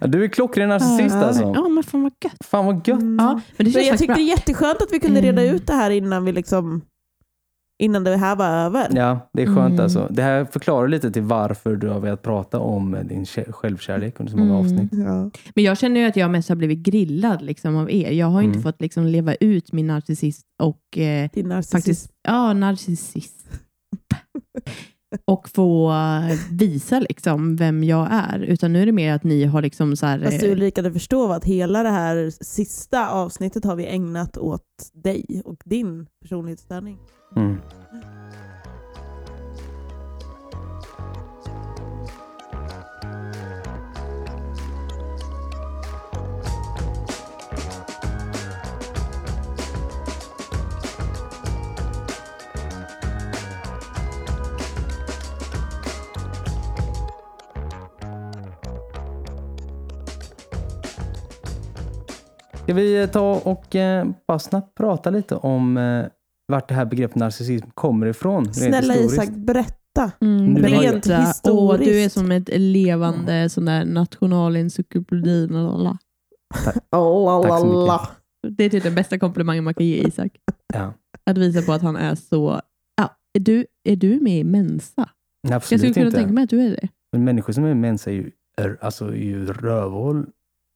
S1: Ja, Du är klockren narcissist alltså.
S3: Ja, men fan vad gött.
S1: Fan vad gött.
S2: Mm.
S3: Ja, men det
S2: Men
S3: känns
S2: jag
S3: faktiskt
S2: tyckte
S3: bra.
S2: det är jätteskönt att vi kunde reda
S3: Mm.
S2: ut det här innan vi liksom innan det här var över.
S1: Ja, det är skönt
S3: Mm.
S1: alltså. Det här förklarar lite till varför du har velat prata om din kä- självkärlek under så många
S3: Mm.
S1: avsnitt.
S2: Ja.
S3: Men jag känner ju att jag mest har blivit grillad liksom, av er. Jag har ju
S1: Mm.
S3: inte fått liksom, leva ut min narcissist och eh,
S2: Din narcissism.
S3: faktiskt, ja, narcissist. och få visa liksom, vem jag är. Utan nu är det mer att ni har liksom så här...
S2: Fast du
S3: eh,
S2: Ulrika, du förstår vad att hela det här sista avsnittet har vi ägnat åt dig och din personlighetsstörning.
S1: Mm. Ska vi eh, ta och eh, bara snabbt prata lite om eh, vart det här begreppet narcissism kommer ifrån? rent
S2: Snälla
S1: historiskt?
S2: Isak, berätta.
S3: Mm,
S1: Nu har jag-
S3: berätta.
S2: Rent
S3: Åh, du är
S2: historiskt.
S3: som ett levande
S1: Mm.
S3: sån där nationalencyklopedi. lalala.
S1: Tack så mycket.
S3: Det är typ den bästa komplimangen man kan ge Isak.
S1: Ja.
S3: Att visa på att han är så... Ja, är, du, är du med i Mensa?
S1: Nej,
S3: Jag
S1: Absolut
S3: skulle kunna
S1: inte.
S3: tänka mig att du är det.
S1: Men människor som är mens är ju, är, alltså, är ju rövhål.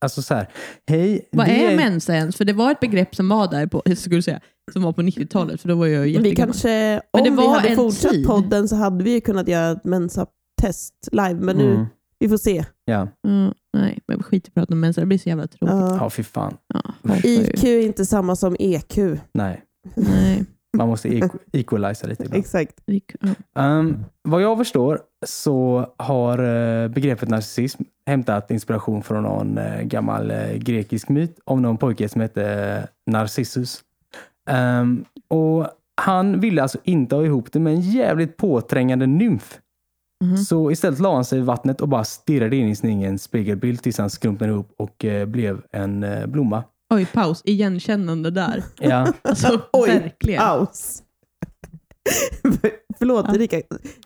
S1: Alltså så här, hej.
S3: Vad
S1: det
S3: är, Mensa ens? För det var ett begrepp som var där på, jag skulle säga, som var på 90-talet, för då var jag ju
S2: Vi
S3: jättegammal.
S2: kanske,
S3: Men det
S2: om vi
S3: var
S2: hade
S3: en
S2: fortsatt
S3: tid.
S2: podden så hade vi ju kunnat göra ett Mensa-test live, men nu,
S1: Mm,
S2: vi får se.
S1: ja.
S3: Mm, nej, men skit i att prata om Mensa, det blir så jävla tråkigt.
S2: Ja.
S1: ja, fy fan.
S3: Ja, hatar ju.
S2: IQ är inte samma som E EQ.
S1: Nej,
S3: Nej,
S1: man måste equ- equaliza lite ibland.
S2: Exakt.
S3: IQ, ja.
S1: Ehm, vad jag förstår så har eh, begreppet narcissism hämtat inspiration från någon eh, gammal eh, grekisk myt om någon pojke som hette eh, Narcissus. Ehm, och han ville alltså inte ha ihop det med en jävligt påträngande nymf.
S3: Mhm.
S1: Så istället la han sig i vattnet och bara stirrade in i sin egen spegelbild tills han skrumpnade ihop och eh, blev en eh, blomma.
S3: Oj, paus. Igenkännande där.
S1: Ja,
S3: Alltså,
S2: Oj,
S3: verkligen.
S2: Paus. Förlåt
S3: Ja.
S2: Erika.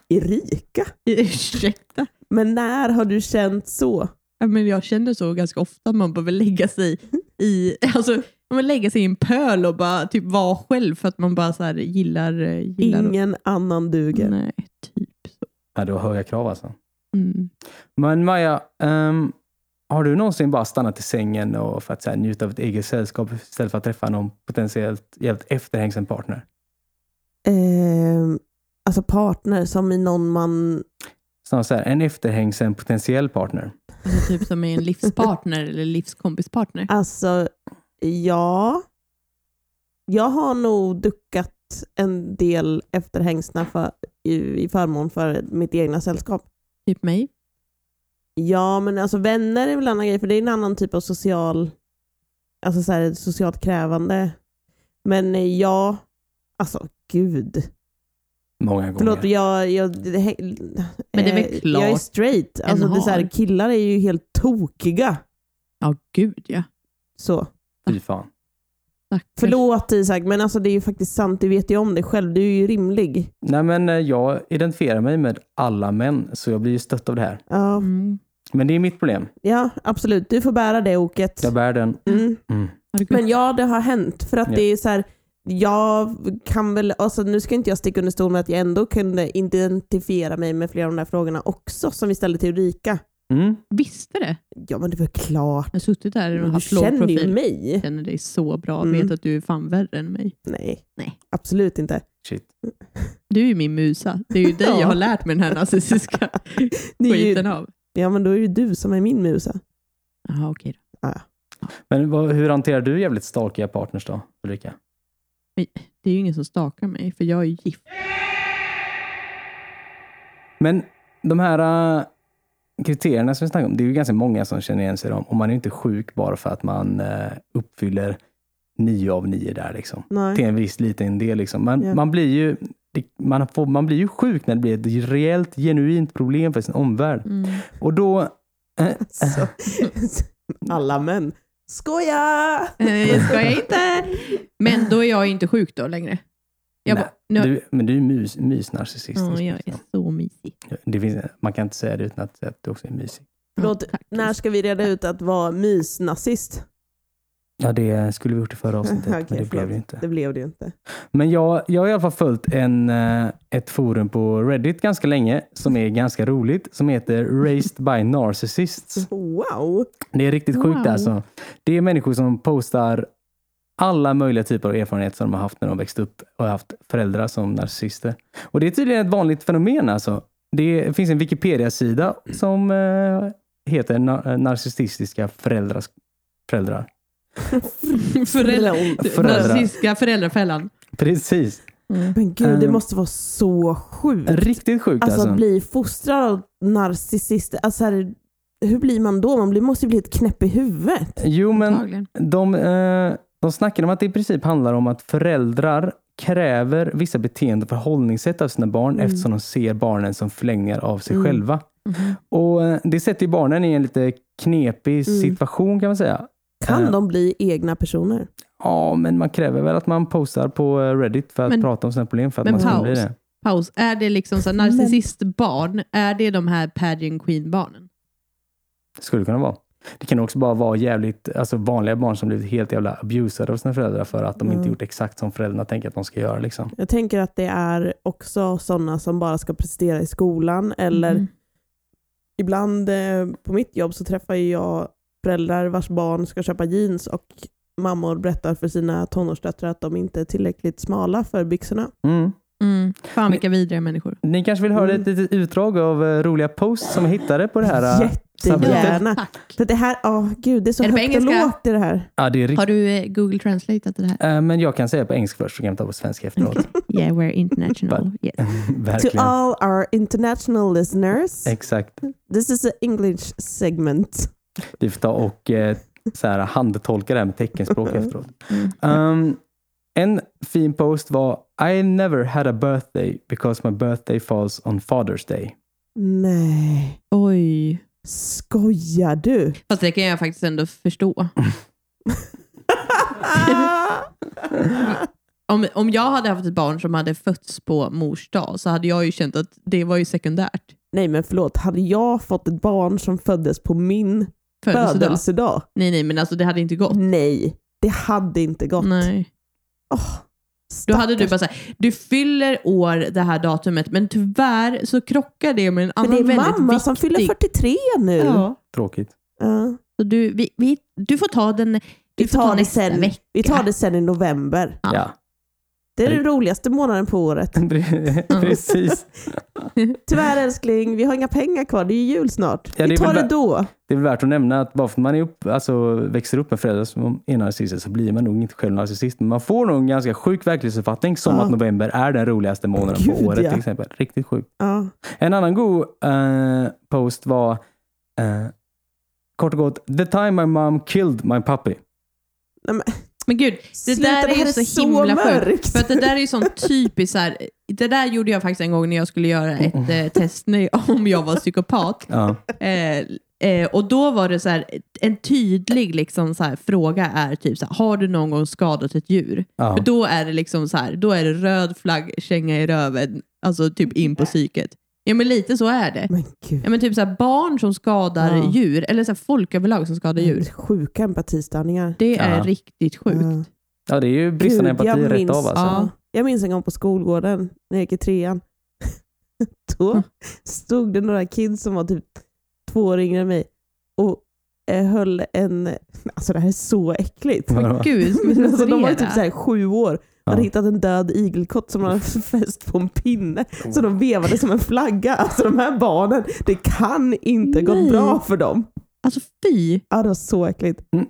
S2: Erika?
S3: Ursäkta.
S2: Men när har du känt så?
S3: Ja, Men jag känner så ganska ofta, man behöver lägga sig i alltså, man lägga sig i en pöl och bara typ vara själv för att man bara så här, gillar, eh, gillar
S2: Ingen annan duger.
S3: Nej, typ så.
S1: ja det var höga krav alltså.
S3: Mm.
S1: Men Maja, ehm, har du någonsin bara stannat i sängen och för att så här, njuta av ett eget sällskap istället för att träffa någon potentiellt jävligt efterhängsen partner?
S3: Mm.
S2: Ehm, alltså partner som i någon man...
S1: Snarare så här, en efterhängsen potentiell partner.
S3: Alltså, typ som är en livspartner eller livskompispartner.
S2: Alltså, ja. Jag har nog duckat fått en del efterhängsna för, i, i förmån för mitt egna sällskap.
S3: Typ mig.
S2: Ja, men alltså vänner är väl en annan grej, för det är en annan typ av social, alltså så här, socialt krävande. Men eh, ja, alltså gud.
S1: Många gånger.
S2: Förlåt, jag, jag, det- he-
S3: Men det är väl
S2: eh,
S3: klart
S2: jag är straight. Alltså,
S3: en
S2: det är så här,
S3: har.
S2: killar är ju helt tokiga.
S3: Ja, gud ja.
S2: Så.
S1: Fy fan.
S3: Stackars.
S2: Förlåt Isak, men alltså, det är ju faktiskt sant. Du vet ju om det själv. Du är ju rimlig.
S1: Nej, men eh, jag identifierar mig med alla män, så jag blir ju stött av det här.
S2: Ja,
S3: Mm.
S1: Men det är mitt problem.
S2: ja absolut. Du får bära det oket.
S1: Jag bär den.
S2: Mm.
S1: Mm.
S3: Har det gått-
S2: Men ja, det har hänt. För att
S1: Ja.
S2: det är så här, jag kan väl, alltså nu ska inte jag sticka under stol med att jag ändå kunde identifiera mig med flera av de där frågorna också som vi ställde till Ulrika.
S1: Mm.
S3: Visste det?
S2: Ja men det var klart.
S3: Jag har suttit där och
S2: Du
S3: haft låg
S2: känner ju
S3: profil.
S2: mig.
S3: Jag känner dig så bra.
S2: Mm.
S3: Vet att du är fan värre än mig.
S2: Nej.
S3: Nej.
S2: Absolut inte.
S1: Shit.
S3: Du är ju min musa. Det är ju dig
S2: Ja.
S3: jag har lärt mig den här narcissiska
S2: Det är
S3: skiten
S2: ju,
S3: av.
S2: ja men då är det ju du som är min musa.
S3: Jaha, okej då.
S1: Men vad, hur hanterar du jävligt stalkiga partners då, Ulrika?
S3: Det är ju ingen som stakar mig, för jag är ju gift.
S1: Men de här äh, kriterierna som vi snackar om, det är ju ganska många som känner igen sig i dem. Och man är ju inte sjuk bara för att man eh, uppfyller nio av nio där. Liksom. Till
S2: Nej.
S1: en viss liten del. Liksom. Man,
S2: Ja.
S1: man, blir ju, det, man, får, man blir ju sjuk när det blir ett rejält, genuint problem för sin omvärld.
S2: Mm.
S1: Och då,
S2: Så. alltså. Alla män. Skoja!
S3: Eh, ska jag inte? Men då är jag ju inte sjuk då längre. Jag
S1: nej,
S3: bara, nu,
S1: du, men du är mys, mysnarcissist.
S2: liksom
S3: ja, jag är så mysig.
S1: det finns, man kan inte säga det utan att säga att du också är mysig.
S2: Förlåt,
S3: Ja, tack.
S2: när ska vi reda ut att vara mysnazist?
S1: Ja, det skulle vi gjort i förra avsnittet,
S2: Okej,
S1: men det blev
S2: förlåt.
S1: det inte.
S2: Det blev det ju inte.
S1: Men jag, jag har i alla fall följt en, eh, ett forum på Reddit ganska länge som är ganska roligt, som heter Raised by Narcissists.
S2: Wow!
S1: Det är riktigt sjukt
S3: Wow.
S1: alltså. Det är människor som postar alla möjliga typer av erfarenheter som de har haft när de växte upp och har haft föräldrar som narcissister. Och det är tydligen ett vanligt fenomen alltså. Det finns en Wikipedia-sida som eh, heter Na- Narcissistiska föräldrars- föräldrar.
S3: Föräldrar.
S1: Föräldrar.
S3: Narcissiska föräldrafällan.
S1: Precis.
S2: Men gud, det
S1: Ehm.
S2: måste vara så sjukt.
S1: Riktigt sjukt
S2: Alltså
S1: alltså.
S2: att bli fostrad av narcissister. Alltså här, hur blir man då? Man blir, måste ju bli helt knäpp i huvudet.
S1: Jo, men
S3: Antagligen.
S1: De, eh, de snackar om att det i princip handlar om att föräldrar kräver vissa beteende och förhållningssätt av sina barn
S2: Mm.
S1: eftersom de ser barnen som förlängningar av sig
S2: Mm.
S1: själva.
S3: Mhm.
S1: Och eh, Det sätter ju barnen i en lite knepig
S2: Mm.
S1: situation kan man säga.
S2: Kan
S1: Eh.
S2: de bli egna personer?
S1: Ja, men man kräver väl att man postar på eh, Reddit för att
S3: Men-
S1: prata om sina problem för att
S3: men
S1: man ska
S3: paus.
S1: bli det.
S3: Paus. Är det liksom så här narcissistbarn? Är det de här pageant queen-barnen?
S1: Skulle det kunna vara. Det kan också bara vara jävligt, alltså vanliga barn som blivit helt jävla abusade av sina föräldrar för att de
S2: Mm.
S1: inte gjort exakt som föräldrarna tänker att de ska göra. Liksom.
S2: Jag tänker att det är också sådana som bara ska prestera i skolan eller
S3: Mm.
S2: ibland eh, på mitt jobb så träffar ju jag föräldrar vars barn ska köpa jeans och mammor berättar för sina tonårsdöttrar att de inte är tillräckligt smala för byxorna.
S1: Mm.
S3: Mm. Fan vilka vidriga människor.
S1: Ni kanske vill höra
S2: Mm.
S1: ett litet utdrag av eh, roliga posts som jag hittade på det här? eh, samarbetet?
S2: Jättegärna.
S3: Tack.
S2: För det här, åh gud, det är så
S3: Är det på
S2: högt och
S3: engelska?
S2: lågt i det här.
S1: Ja, det är
S3: Har
S1: riktigt.
S3: du eh, Google translateat det här?
S1: Eh, Men jag kan säga på engelska först, så kan jag ta på svenska efteråt.
S3: Yeah, we're international. Yes.
S2: To
S1: Verkligen.
S2: all our international listeners,
S1: Exakt.
S2: this is an English segment.
S1: Vi får ta och eh, så här, handtolka det här med teckenspråk efteråt.
S3: Mm.
S1: Um, en fin post var I never had a birthday because my birthday falls on Father's Day.
S2: Nej,
S3: Oj.
S2: skojar du?
S3: Fast det kan jag faktiskt ändå förstå. Om, om jag hade haft ett barn som hade fötts på mors dag så hade jag ju känt att det var ju sekundärt.
S2: Nej men förlåt, hade jag fått ett barn som föddes på min
S3: Födelsedag.
S2: födelsedag?
S3: Nej, nej, men alltså det hade inte gått.
S2: Nej, det hade inte gått.
S3: Nej.
S2: Åh,
S3: Då hade du
S2: stackars-
S3: bara såhär, du fyller år det här datumet, men tyvärr så krockar det med en
S2: Men
S3: annan
S2: det är
S3: väldigt
S2: mamma
S3: viktig...
S2: som fyller 43 nu.
S3: Ja.
S1: Tråkigt.
S2: Ja.
S3: Så du, vi, vi, du får ta den du
S2: Vi
S3: får
S2: tar
S3: ta
S2: det
S3: nästa
S2: sen.
S3: vecka.
S2: Vi tar det sen i november.
S1: Ja.
S3: Ja.
S2: Det är den roligaste månaden på året.
S1: Precis.
S2: Tyvärr älskling, vi har inga pengar kvar. Det är ju jul snart.
S1: Ja, det är
S2: vi tar
S1: väl
S2: det
S1: vä-
S2: då.
S1: Det är värt att nämna att bara för att man är upp, alltså, växer upp med föräldrar som är narcissister så blir man nog inte själv narcissist. Men man får nog en ganska sjuk verklighetsuppfattning som
S2: Ja.
S1: att november är den roligaste månaden på
S2: Gud,
S1: året
S2: ja.
S1: till exempel. Riktigt sjukt.
S2: Ja.
S1: En annan god eh, post var eh, kort och gott The time my mom killed my puppy.
S3: Men gud, det
S2: Sluta,
S3: där är ju så, himla sjukt. För att det där är ju sån typiskt så här, det där gjorde jag faktiskt en gång när jag skulle göra
S2: Mm.
S3: ett eh, test när- om jag var psykopat.
S1: Ja.
S3: Eh, eh, och då var det så här, en tydlig liksom så här, fråga är typ så här, har du någon gång skadat ett djur?
S1: Ja.
S3: För då är det liksom så här, då är det röd flagg, känga i röven, alltså typ in på psyket. Ja men lite så är det.
S2: Men gud.
S3: Ja men typ så här, barn som skadar
S2: Ja.
S3: djur, eller så här, folk överlag som skadar djur.
S2: Sjuka empatistörningar.
S3: Det är
S1: Ja.
S3: riktigt sjukt.
S2: Ja.
S1: ja, det är ju bristande
S2: Gud,
S1: empati
S2: jag
S1: rätt
S2: minns-
S1: av alltså.
S3: Ja.
S2: Ja. Jag minns en gång på skolgården när jag gick i trean. Då stod det några kids som var typ två år yngre än mig och eh, höll en... Alltså det här är så äckligt.
S3: Mm.
S1: Ja.
S3: Gud, ska vi
S2: Men alltså, de var ju typ
S3: censurera?
S2: så här sju år och hade
S1: Ja.
S2: hittat en död igelkott som de hade fäst på en pinne. Så de vevade som en flagga. Alltså de här barnen, det kan inte ha gått
S3: Nej.
S2: bra för dem.
S3: Alltså fy!
S2: Ja, det var så äckligt.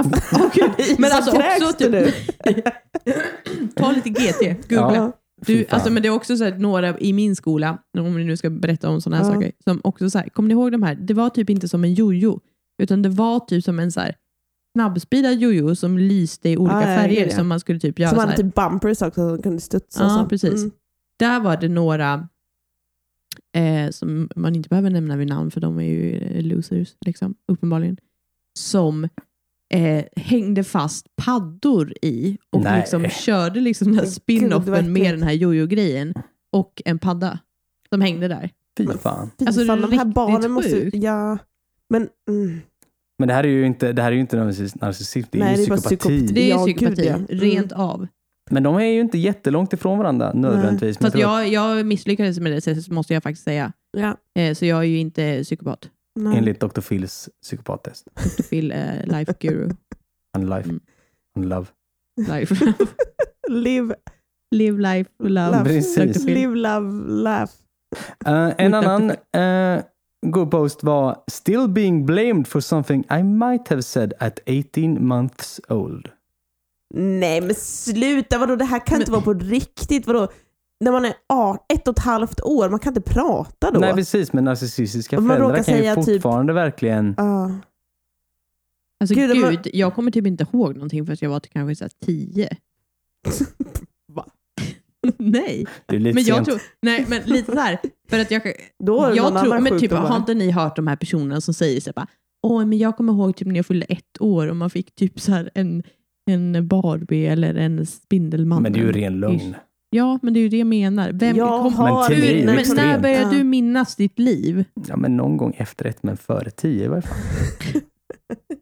S3: Åh gud. Men
S2: Så
S3: alltså
S2: kräks
S3: också
S2: det
S3: typ, ta lite GT, googla.
S1: Ja. Fy
S3: Du,
S1: fan.
S3: alltså, men det är också så här, några i min skola, om vi nu ska berätta om sådana här
S2: Ja.
S3: saker, som också så här, kommer ni ihåg de här? Det var typ inte som en jojo, utan det var typ som en så här snabbspidad jojo som lyste i olika
S2: Ja, ja,
S3: färger
S2: ja.
S3: som man skulle typ göra
S2: Som
S3: så här.
S2: hade typ bumpers också som kunde studsa. och
S3: Ja,
S2: sånt.
S3: precis.
S2: Mm.
S3: Där var det några eh, som man inte behöver nämna vid namn för de är ju eh, losers, liksom, uppenbarligen, som eh, hängde fast paddor i och
S1: Nej.
S3: liksom körde liksom den här
S2: Gud,
S3: spin-offen
S2: vad
S3: med
S2: äckligt.
S3: den här jojo-grejen och en padda som hängde där.
S1: Fy fan.
S2: Fy
S3: Alltså, det är
S2: fan, de här
S3: riktigt
S2: barnen måste ju...
S3: sjukt.
S2: Ja. Men, mm.
S1: Men det här är ju inte, det här är ju inte narcissism, narcissism det är
S2: Nej,
S1: ju
S2: det är bara
S1: psykopati.
S2: psykopati.
S3: Det är ju
S2: Ja,
S3: psykopati,
S2: gud, ja. Mm.
S3: rent av.
S1: Men de är ju inte jättelångt ifrån varandra nödvändigtvis. Men
S3: Fast
S1: jag tror att
S3: jag, jag misslyckades med det, så måste jag faktiskt säga.
S2: Ja.
S3: Eh, så jag är ju inte psykopat.
S2: Nej.
S1: Enligt Dr. Phils psykopattest.
S3: Phil eh, life guru.
S1: And life.
S3: Mm.
S1: And love.
S3: Life.
S2: Live,
S3: Live life, love.
S2: Love.
S1: Precis.
S3: Dr. Phil.
S2: live, love, laugh.
S1: Eh, en annan uh, god post var “Still being blamed for something I might have said at 18 months old”.
S2: Nej men sluta, vadå det här kan inte vara på riktigt. Vadå? När man är art, ett och ett halvt år, man kan inte prata då.
S1: Nej precis, men narcissistiska
S2: Om man
S1: föräldrar
S2: råkar
S1: kan ju
S2: säga typ-
S1: fortfarande verkligen...
S2: Ja.
S3: Alltså
S2: Gud,
S3: gud,
S2: det var-
S3: jag kommer typ inte ihåg någonting för att jag var till kanske så här tio.
S2: Va?
S3: nej.
S1: Det är lite
S3: Men jag
S1: sent.
S3: tror, nej, men lite så här. För att jag,
S2: Då är det någon
S3: jag tror,
S2: annan
S3: men typ,
S2: sjukdom
S3: har
S2: här.
S3: inte ni hört de här personerna som säger så här, bara, Åh, men jag kommer ihåg typ när jag fyllde ett år och man fick typ så här en, en Barbie eller en Spindelmannen.
S1: Men det är
S2: Mm.
S1: ju ren lögn.
S3: Ja, men det är ju det jag menar. Vem,
S2: jag
S3: kom,
S1: Men
S2: har
S1: till
S3: hur,
S1: mig liksom. är
S2: min-
S1: det extremt.
S3: men när började
S2: Ja.
S3: du minnas ditt liv?
S1: Ja, men någon gång efter ett, men före tio i varje fall.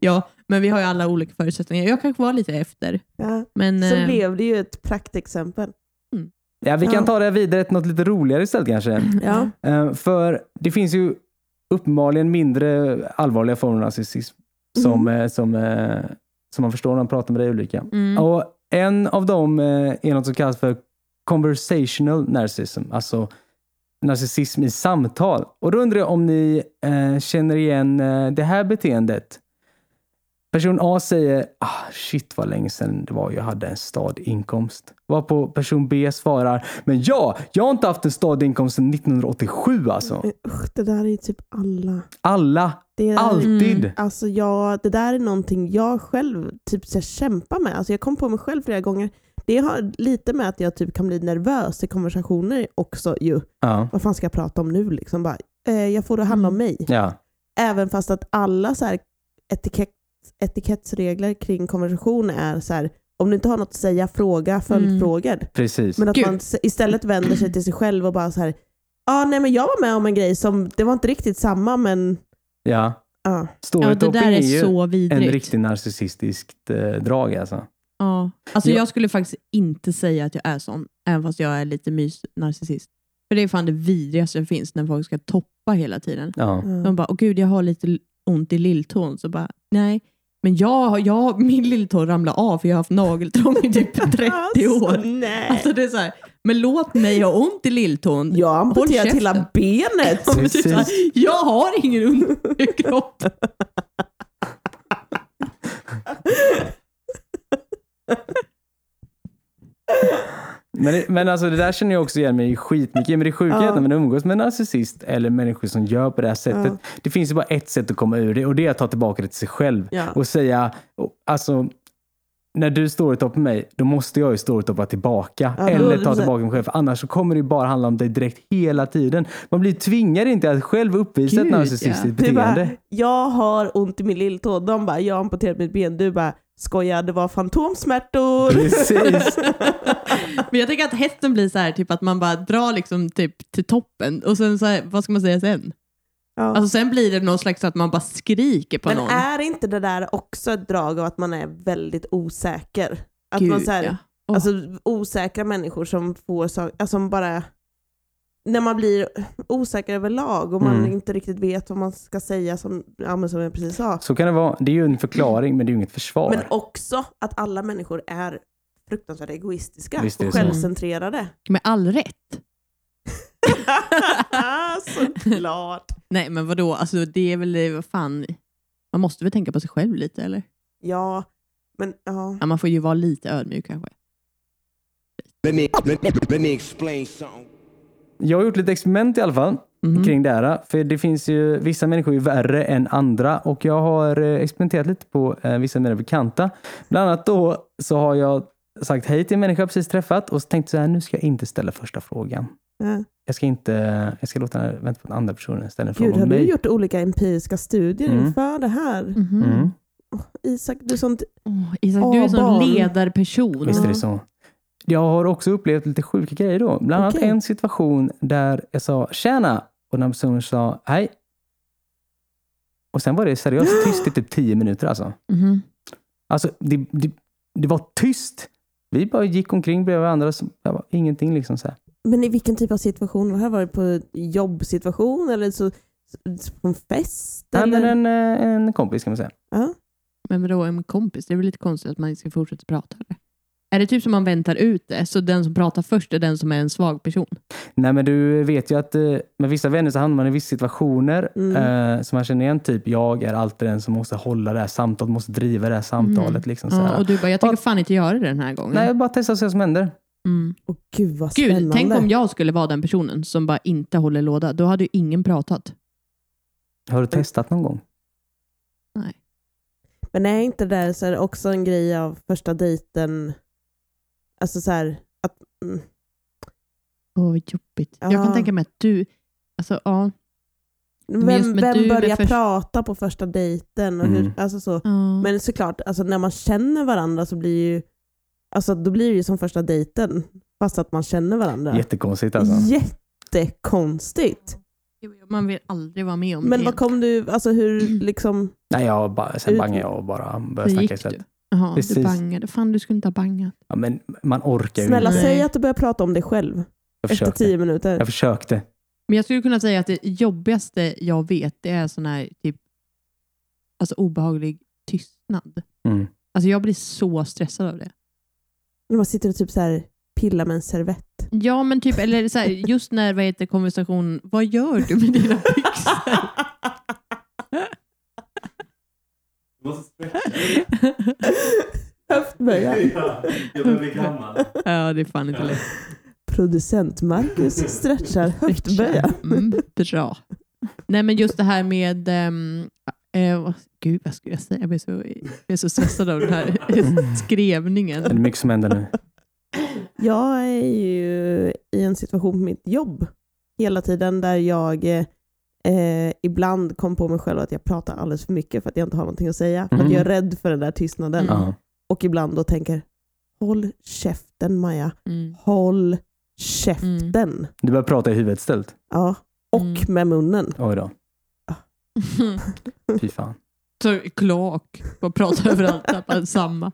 S3: Ja, men vi har ju alla olika förutsättningar. Jag kanske var lite efter.
S2: Ja.
S3: Men,
S2: Så
S3: eh,
S2: blev det ju ett praktexempel.
S1: Ja, vi
S2: Ja.
S1: kan ta det här vidare till något lite roligare istället kanske.
S2: Ja.
S1: Eh, för det finns ju uppenbarligen mindre allvarliga former av narcissism som, eh, som, eh, som man förstår när man pratar med dig Ulrika.
S3: Mm.
S1: Och en av dem eh, är något som kallas för conversational narcissism, alltså narcissism i samtal. Och då undrar jag om ni eh, känner igen eh, det här beteendet. Person A säger ah, “Shit vad länge sedan det var jag hade en stadig inkomst”. Varpå person B svarar “Men ja, jag har inte haft en stadig inkomst sedan 1987 alltså”.
S2: Men Usch, det där är ju typ alla.
S1: Alla,
S2: Det
S3: Mm.
S2: där,
S1: alltid.
S2: Alltså jag, det där är någonting jag själv typ så här, kämpar med. Alltså jag kom på mig själv flera gånger. Det har lite med att jag typ kan bli nervös i konversationer också ju.
S1: Ja.
S2: Vad fan ska jag prata om nu liksom? Bara, eh, jag får det att handla om
S3: Mm.
S2: mig.
S1: ja.
S2: Även fast att alla så här etikett, etikettsregler kring konversation är så här, om du inte har något att säga, fråga följdfrågor.
S1: Precis.
S2: Men att
S3: Mm. Gud.
S2: man s- istället vänder sig till sig själv och bara så här, ah, nej men jag var med om en grej som, det var inte riktigt samma men,
S1: ja.
S2: ja.
S3: Ja,
S1: Storhethopp
S3: det där
S1: är
S3: är
S1: ju
S3: så
S1: en
S3: vidrigt.
S1: riktigt narcissistiskt eh, drag alltså.
S3: Ja. Alltså,
S1: Ja.
S3: Jag skulle faktiskt inte säga att jag är sån, även fast jag är lite mysnarcissist. För det är fan det vidrigaste som finns, när folk ska toppa hela tiden.
S1: Ja.
S2: ja.
S3: De bara, åh gud, jag har lite l- ont i lilltån. Så bara, nej, Men jag, jag, min lilltå ramlade av för jag har haft nageltrång i typ 30
S2: Alltså,
S3: år.
S2: nej.
S3: Alltså det är så här, men låt mig ha ont i lilltån.
S2: jag har amputerat
S3: käften.
S2: hela benet.
S3: Men det är så här, Jag har ingen underkropp.
S1: Men, det, men alltså det där känner jag också igen mig i skitmycket. Men det sjuka är
S2: Ja.
S1: att när man umgås med en narcissist eller människor som gör på det här sättet. Det finns ju bara ett sätt att komma ur det och det är att ta tillbaka det till sig själv.
S2: Ja.
S1: Och säga, och- alltså när du storytoppar mig, då måste jag ju storytoppa tillbaka.
S2: Ja,
S1: eller ta
S2: 100%.
S1: tillbaka mig själv. För annars så kommer det ju bara handla om dig direkt hela tiden. Man blir tvingad inte att själv uppvisa ett
S3: Gud,
S1: narcissistiskt
S3: ja.
S2: Du bara,
S1: beteende.
S2: jag har ont i min lilltå. De bara, jag har amputerat mitt ben. Du bara, skoja det var
S1: Mm.
S2: fantomsmärtor.
S1: Precis.
S3: Men jag tänker att hetsen blir så här, typ att man bara drar liksom typ till toppen och sen så här, vad ska man säga sen?
S2: Ja.
S3: Alltså sen blir det någon slags att man bara skriker på
S2: Men
S3: någon.
S2: är inte det där också ett drag av att man är väldigt osäker? Att man så här,
S3: ja.
S2: alltså, osäkra människor som får saker, alltså, som bara... När man blir osäker överlag och man
S1: Mm.
S2: inte riktigt vet vad man ska säga som, ja, men som jag precis sa.
S1: Så kan det vara. Det är ju en förklaring, men det är ju inget försvar.
S2: Men också att alla människor är fruktansvärt egoistiska
S1: Visst är det
S2: och
S1: så.
S2: självcentrerade.
S3: Med all rätt.
S2: Såklart.
S3: Nej men vadå, alltså det är väl, det- vad fan, man måste väl tänka på sig själv lite eller?
S2: Ja, men ja.
S3: Ja, man får ju vara lite ödmjuk kanske.
S4: Let me, let, let me explain something.
S1: Jag har gjort lite experiment i alla fall
S3: Mhm.
S2: Mm.
S1: kring det här. För det finns ju, vissa människor är ju värre än andra och jag har eh, experimenterat lite på eh, vissa av mina bekanta. Bland annat då så har jag sagt hej till en människa jag precis träffat och så tänkte så här, nu ska jag inte ställa första frågan.
S2: Nej.
S1: Jag ska inte, jag ska låta vänta på den andra personen ställa en fråga
S2: Gud, har
S1: om
S2: du
S1: mig.
S2: gjort olika empiriska studier
S1: Mm.
S2: inför det här?
S1: Mm.
S2: Isak, du är sånt...
S3: Åh, Isak, du är en
S2: Åh,
S3: sån
S2: barn.
S3: ledarperson.
S1: Visst är det så. Jag har också upplevt lite sjuka grejer då. Bland annat
S2: Okej.
S1: en situation där jag sa tjena och den personen sa hej. Och sen var det seriöst tyst i typ tio minuter alltså.
S3: Mhm.
S1: Alltså, det, det, det var tyst. Vi bara gick omkring bredvid varandra. Så det var ingenting liksom. Så här.
S2: Men i vilken typ av situation? Har det varit på jobbsituation eller så, på en fest?
S1: Nej,
S2: eller?
S1: men en, eh, en kompis kan man säga.
S2: ja.
S3: Men vadå, en kompis? Det är väl lite konstigt att man inte ska fortsätta prata? Eller? Är det typ som man väntar ut det, så den som pratar först är den som är en svag person?
S1: Nej, men du vet ju att eh, med vissa vänner så hamnar man i vissa situationer eh, som man känner igen. Typ, jag är alltid den som måste hålla det här samtalet, måste driva det här samtalet. Liksom, så här.
S3: Ja, och du bara, jag tänker fan inte göra det den här gången.
S1: Nej, jag bara testar och se vad som händer.
S3: Mm.
S2: Åh, gud vad
S3: Gud,
S2: spännande.
S3: tänk om jag skulle vara den personen som bara inte håller låda. Då hade ju ingen pratat.
S1: Har du testat någon gång?
S3: Nej.
S2: Men är inte det där så är det också en grej av första dejten? Alltså så här, att... Mm,
S3: Åh, vad jobbigt. Jag
S2: Ja.
S3: kan tänka mig att du... Alltså, ja.
S2: vem
S3: just med du
S2: vem
S3: är
S2: börjar
S3: först-
S2: prata på första dejten? Och hur,
S1: Mm.
S2: alltså så.
S3: ja.
S2: Men såklart, alltså när man känner varandra så blir ju Alltså då blir det ju som första dejten, fast att man känner varandra.
S1: Jättekonstigt alltså.
S2: Jättekonstigt.
S3: Man vill aldrig vara med om det
S2: Men
S3: igen.
S2: vad kom du, alltså hur liksom,
S1: Nej, jag bara, sen
S2: Ut-
S1: bangar jag och bara börjar
S3: Hur
S1: snacka
S3: gick du?
S1: istället.
S3: Jaha,
S1: Precis.
S3: du bangade. Fan, du skulle inte ha bangat.
S1: Ja, men man orkar ju
S2: snälla
S1: inte.
S3: Nej.
S2: säg att du börjar prata om dig själv
S1: Jag
S2: efter
S1: försökte.
S2: tio minuter.
S1: Jag försökte.
S3: Men jag skulle kunna säga att det jobbigaste jag vet, det är sån här typ, alltså obehaglig tystnad.
S1: Mm.
S3: Alltså jag blir så stressad av det.
S2: När man sitter och typ så här pillar med en servett.
S3: Ja, men typ, eller så här, just när vad heter konversation, vad gör du med dina byxor?
S2: Höftböja.
S1: Jag börjar bli gammal.
S3: ja, det är fan inte lätt.
S2: Producent Marcus stretchar höftböja.
S3: Mm, bra. Nej, men just det här med... ehm, eh, vad- gud, vad skulle jag säga? Jag blir så, jag är så stressad av den här skrivningen.
S1: Mm. Det är mycket som händer nu.
S2: Jag är ju i en situation på mitt jobb hela tiden där jag eh, ibland kom på mig själv att jag pratar alldeles för mycket för att jag inte har någonting att säga. För att
S1: Mm.
S2: jag är rädd för den där tystnaden.
S3: Mm.
S1: Ja.
S2: Och ibland då tänker, håll käften Maja.
S3: Mm.
S2: Håll käften.
S1: Du börjar prata i huvudet istället.
S2: Ja. Och
S3: Mm.
S2: med munnen.
S1: Oj då. Fy fan.
S3: Så kloak, bara prata överallt, bara samma.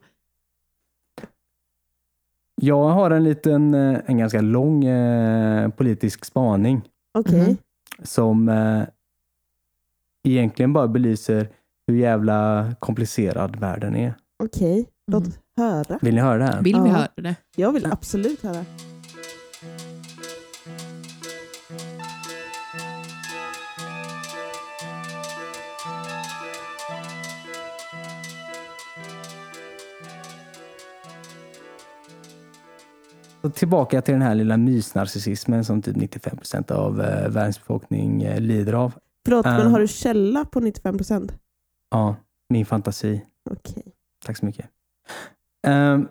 S1: Jag har en liten, eh, en ganska lång eh, politisk spaning
S2: Okej.
S3: Mhm.
S1: som eh, egentligen bara belyser hur jävla komplicerad världen är.
S2: Okej, låt
S5: Mm.
S2: höra.
S1: Vill ni höra det här?
S5: Vill vi
S2: Ja.
S5: höra det?
S2: Jag vill absolut höra.
S1: Så tillbaka till den här lilla mysnarcissismen som typ 95 procent av eh, världens befolkning eh, lider av.
S2: Förlåt, men
S1: Ähm.
S2: har du källa på 95 procent?
S1: Ja, min fantasi.
S2: Okej.
S1: Tack så mycket. Ehm,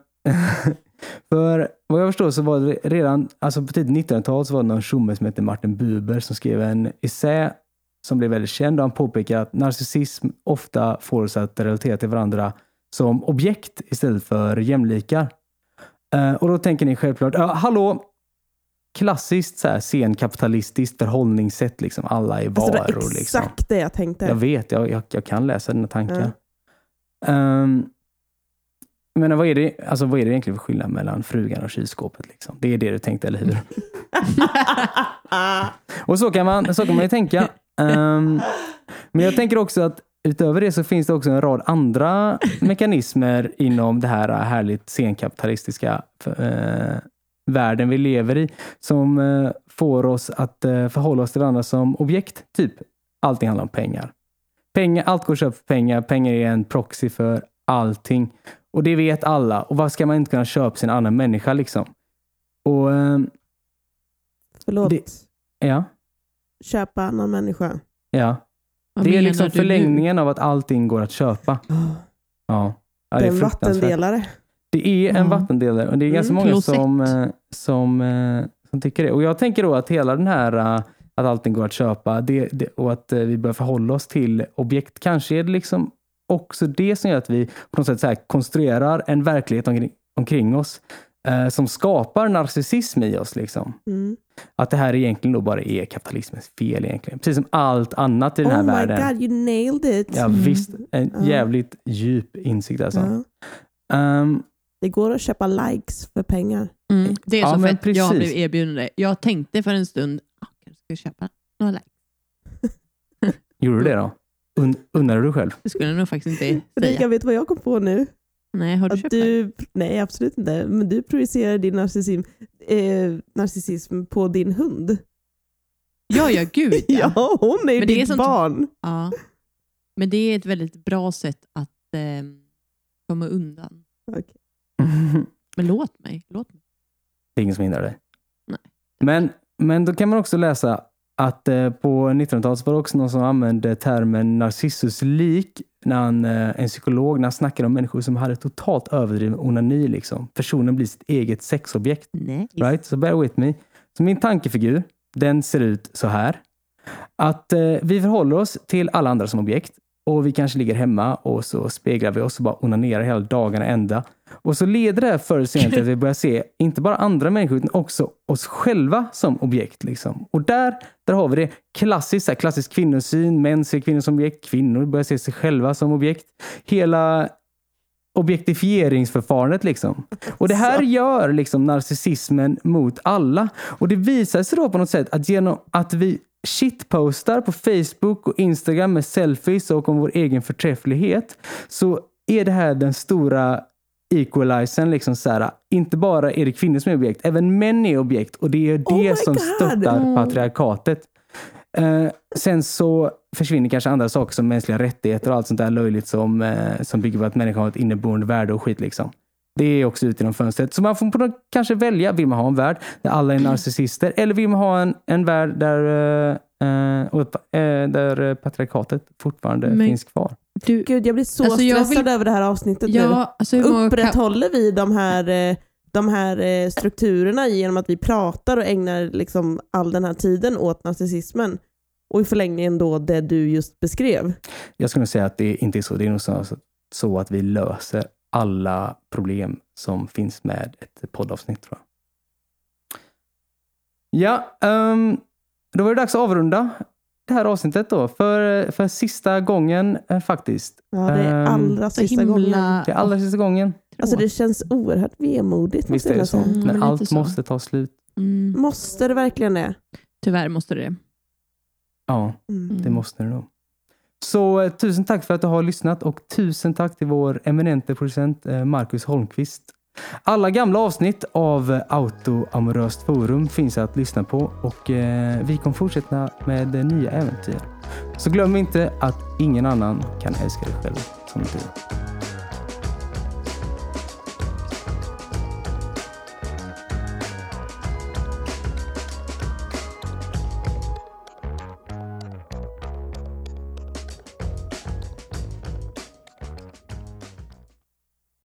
S1: för vad jag förstår så var det redan alltså på tidigt 1900-tal så var det någon tjomme som hette Martin Buber som skrev en essä som blev väldigt känd och han påpekar att narcissism ofta får oss att relatera till varandra som objekt istället för jämlikar. Eh, och då tänker ni självklart, ja, hallå, klassiskt så här, senkapitalistiskt förhållningssätt, liksom alla är
S2: Alltså,
S1: varor.
S2: det var exakt
S1: liksom.
S2: det jag tänkte.
S1: Jag vet, jag, jag, jag kan läsa dina tankar.
S2: Ja.
S1: Ehm, jag menar, vad är, det, alltså, vad är det egentligen för skillnad mellan frugan och kylskåpet? Liksom? Det är det du tänkte, eller hur? och så kan man, så kan man ju tänka. Ehm, men jag tänker också att utöver det så finns det också en rad andra mekanismer inom det här härligt senkapitalistiska eh, världen vi lever i som eh, får oss att eh, förhålla oss till varandra som objekt. Typ allting handlar om pengar. pengar allt går att köpa för pengar. Pengar är en proxy för allting. Och det vet alla. Och vad ska man inte kunna köpa sin annan människa liksom? Och ehm,
S2: Förlåt.
S1: Det- ja,
S2: Köpa annan människa.
S1: ja.
S5: Vad
S1: Det är
S5: menar
S1: liksom
S5: du nu?
S1: förlängningen av att allting går att köpa. Ja. Ja,
S2: det
S1: det,
S2: är
S1: är
S2: en
S1: fruktansvärt.
S2: vattendelare.
S1: det är en
S5: Ja.
S1: vattendelare och det är ganska
S5: Mm,
S1: många
S5: klosett.
S1: som, eh, som, eh, som tycker det. Och Jag tänker då att hela den här eh, att allting går att köpa det, det, och att eh, vi bör förhålla oss till objekt. Kanske är det liksom också det som gör att vi på något sätt så här konstruerar en verklighet omkring, omkring oss eh, som skapar narcissism i oss. Liksom.
S2: Mm.
S1: Att det här egentligen då bara är kapitalismens fel egentligen. Precis som allt annat i den här
S2: Oh my
S1: världen.
S2: god, you nailed it.
S1: Ja, visst. En
S2: Mm. Ja.
S1: jävligt djup insikt alltså.
S2: Ja.
S1: Ehm,
S2: Det går att köpa likes för pengar.
S5: Mm, det är
S1: Ja,
S5: så
S1: men
S5: fett. Jag blev
S1: precis.
S5: erbjuden det. Jag tänkte för en stund, ah, kanske ska jag köpa några likes.
S1: gjorde du det då? Un undrar du själv?
S5: Det skulle jag nog faktiskt inte
S2: Rika,
S5: säga.
S2: vet du vad jag kom på nu?
S5: Nej, har du
S2: Att
S5: köpt likes?
S2: du, nej, absolut inte. Men du projicerar din narcissism, eh, narcissism på din hund.
S5: Ja, ja, gud ja.
S2: Ja, hon är ju
S5: Men det är
S2: ditt
S5: sånt-
S2: barn.
S5: ja. Men det är ett väldigt bra sätt att eh, komma undan.
S2: Okej.
S5: Men låt mig. Låt mig.
S1: det är ingen som hindrar dig.
S5: Nej.
S1: Men, men då kan man också läsa att eh, på 1900-talet var det också någon som använde termen narcissuslik när han, eh, en psykolog, när han snackade om människor som hade totalt överdriven onani. Liksom. Personen blir sitt eget sexobjekt.
S5: Nej.
S1: Right? So bear with me. Så min tankefigur, den ser ut så här. Att eh, vi förhåller oss till alla andra som objekt och vi kanske ligger hemma och så speglar vi oss och bara onanerar hela dagarna ända. Och så leder det här förr eller senare till att vi börjar se inte bara andra människor utan också oss själva som objekt. Liksom. Och där, där har vi det klassiskt, så här, klassisk kvinnosyn. Män ser kvinnor som objekt. Kvinnor börjar se sig själva som objekt. Hela objektifieringsförfarandet. Liksom. Och det här gör liksom narcissismen mot alla. Och det visar sig då på något sätt att genom att vi shitpostar på Facebook och Instagram med selfies och om vår egen förträfflighet så är det här den stora equalizern. Liksom så här, inte bara är det kvinnor som är objekt, även män är objekt och det är det
S2: Oh my
S1: som
S2: God!
S1: stöttar patriarkatet. Eh, sen så försvinner kanske andra saker som mänskliga rättigheter och allt sånt där löjligt som, eh, som bygger på att människan har ett inneboende värde och skit. liksom. Det är också ut genom fönstret. Så man får på något- kanske välja, vill man ha en värld där alla är narcissister eller vill man ha en, en värld där, eh, eh, och, eh, där eh, patriarkatet fortfarande
S5: Men-
S1: finns kvar?
S5: Du,
S2: Gud, jag blir så
S5: Alltså, jag
S2: stressad över det här avsnittet nu.
S5: ja, alltså, hur många kan-
S2: Upprätthåller vi de här, eh, de här eh, strukturerna genom att vi pratar och ägnar liksom all den här tiden åt narcissismen? Och i förlängningen då det du just beskrev.
S1: Jag skulle nog säga att det inte är så. Det är nog snarare så- så att vi löser alla problem som finns med ett poddavsnitt. Tror jag. Ja, ehm, då var det dags att avrunda det här avsnittet då. För, för sista gången eh, faktiskt.
S2: Ja, det är
S1: Ehm,
S2: allra
S5: så
S2: sista gången.
S5: himla...
S1: Det är allra sista gången.
S2: Alltså det känns oerhört vemodigt.
S1: Visst
S2: måste
S1: är det
S2: jag
S1: så.
S2: säga.
S5: Mm,
S1: Men
S5: lite
S1: allt
S5: så.
S1: måste ta slut.
S5: Mm,
S2: Måste det verkligen det?
S5: tyvärr måste det det.
S1: Ja,
S2: Mm.
S1: det måste det nog. Så eh, tusen tack för att du har lyssnat och tusen tack till vår eminente producent eh, Marcus Holmqvist. Alla gamla avsnitt av eh, Autoamoröst Forum finns att lyssna på och eh, vi kommer fortsätta med eh, nya äventyr. Så glöm inte att ingen annan kan älska dig själv som du.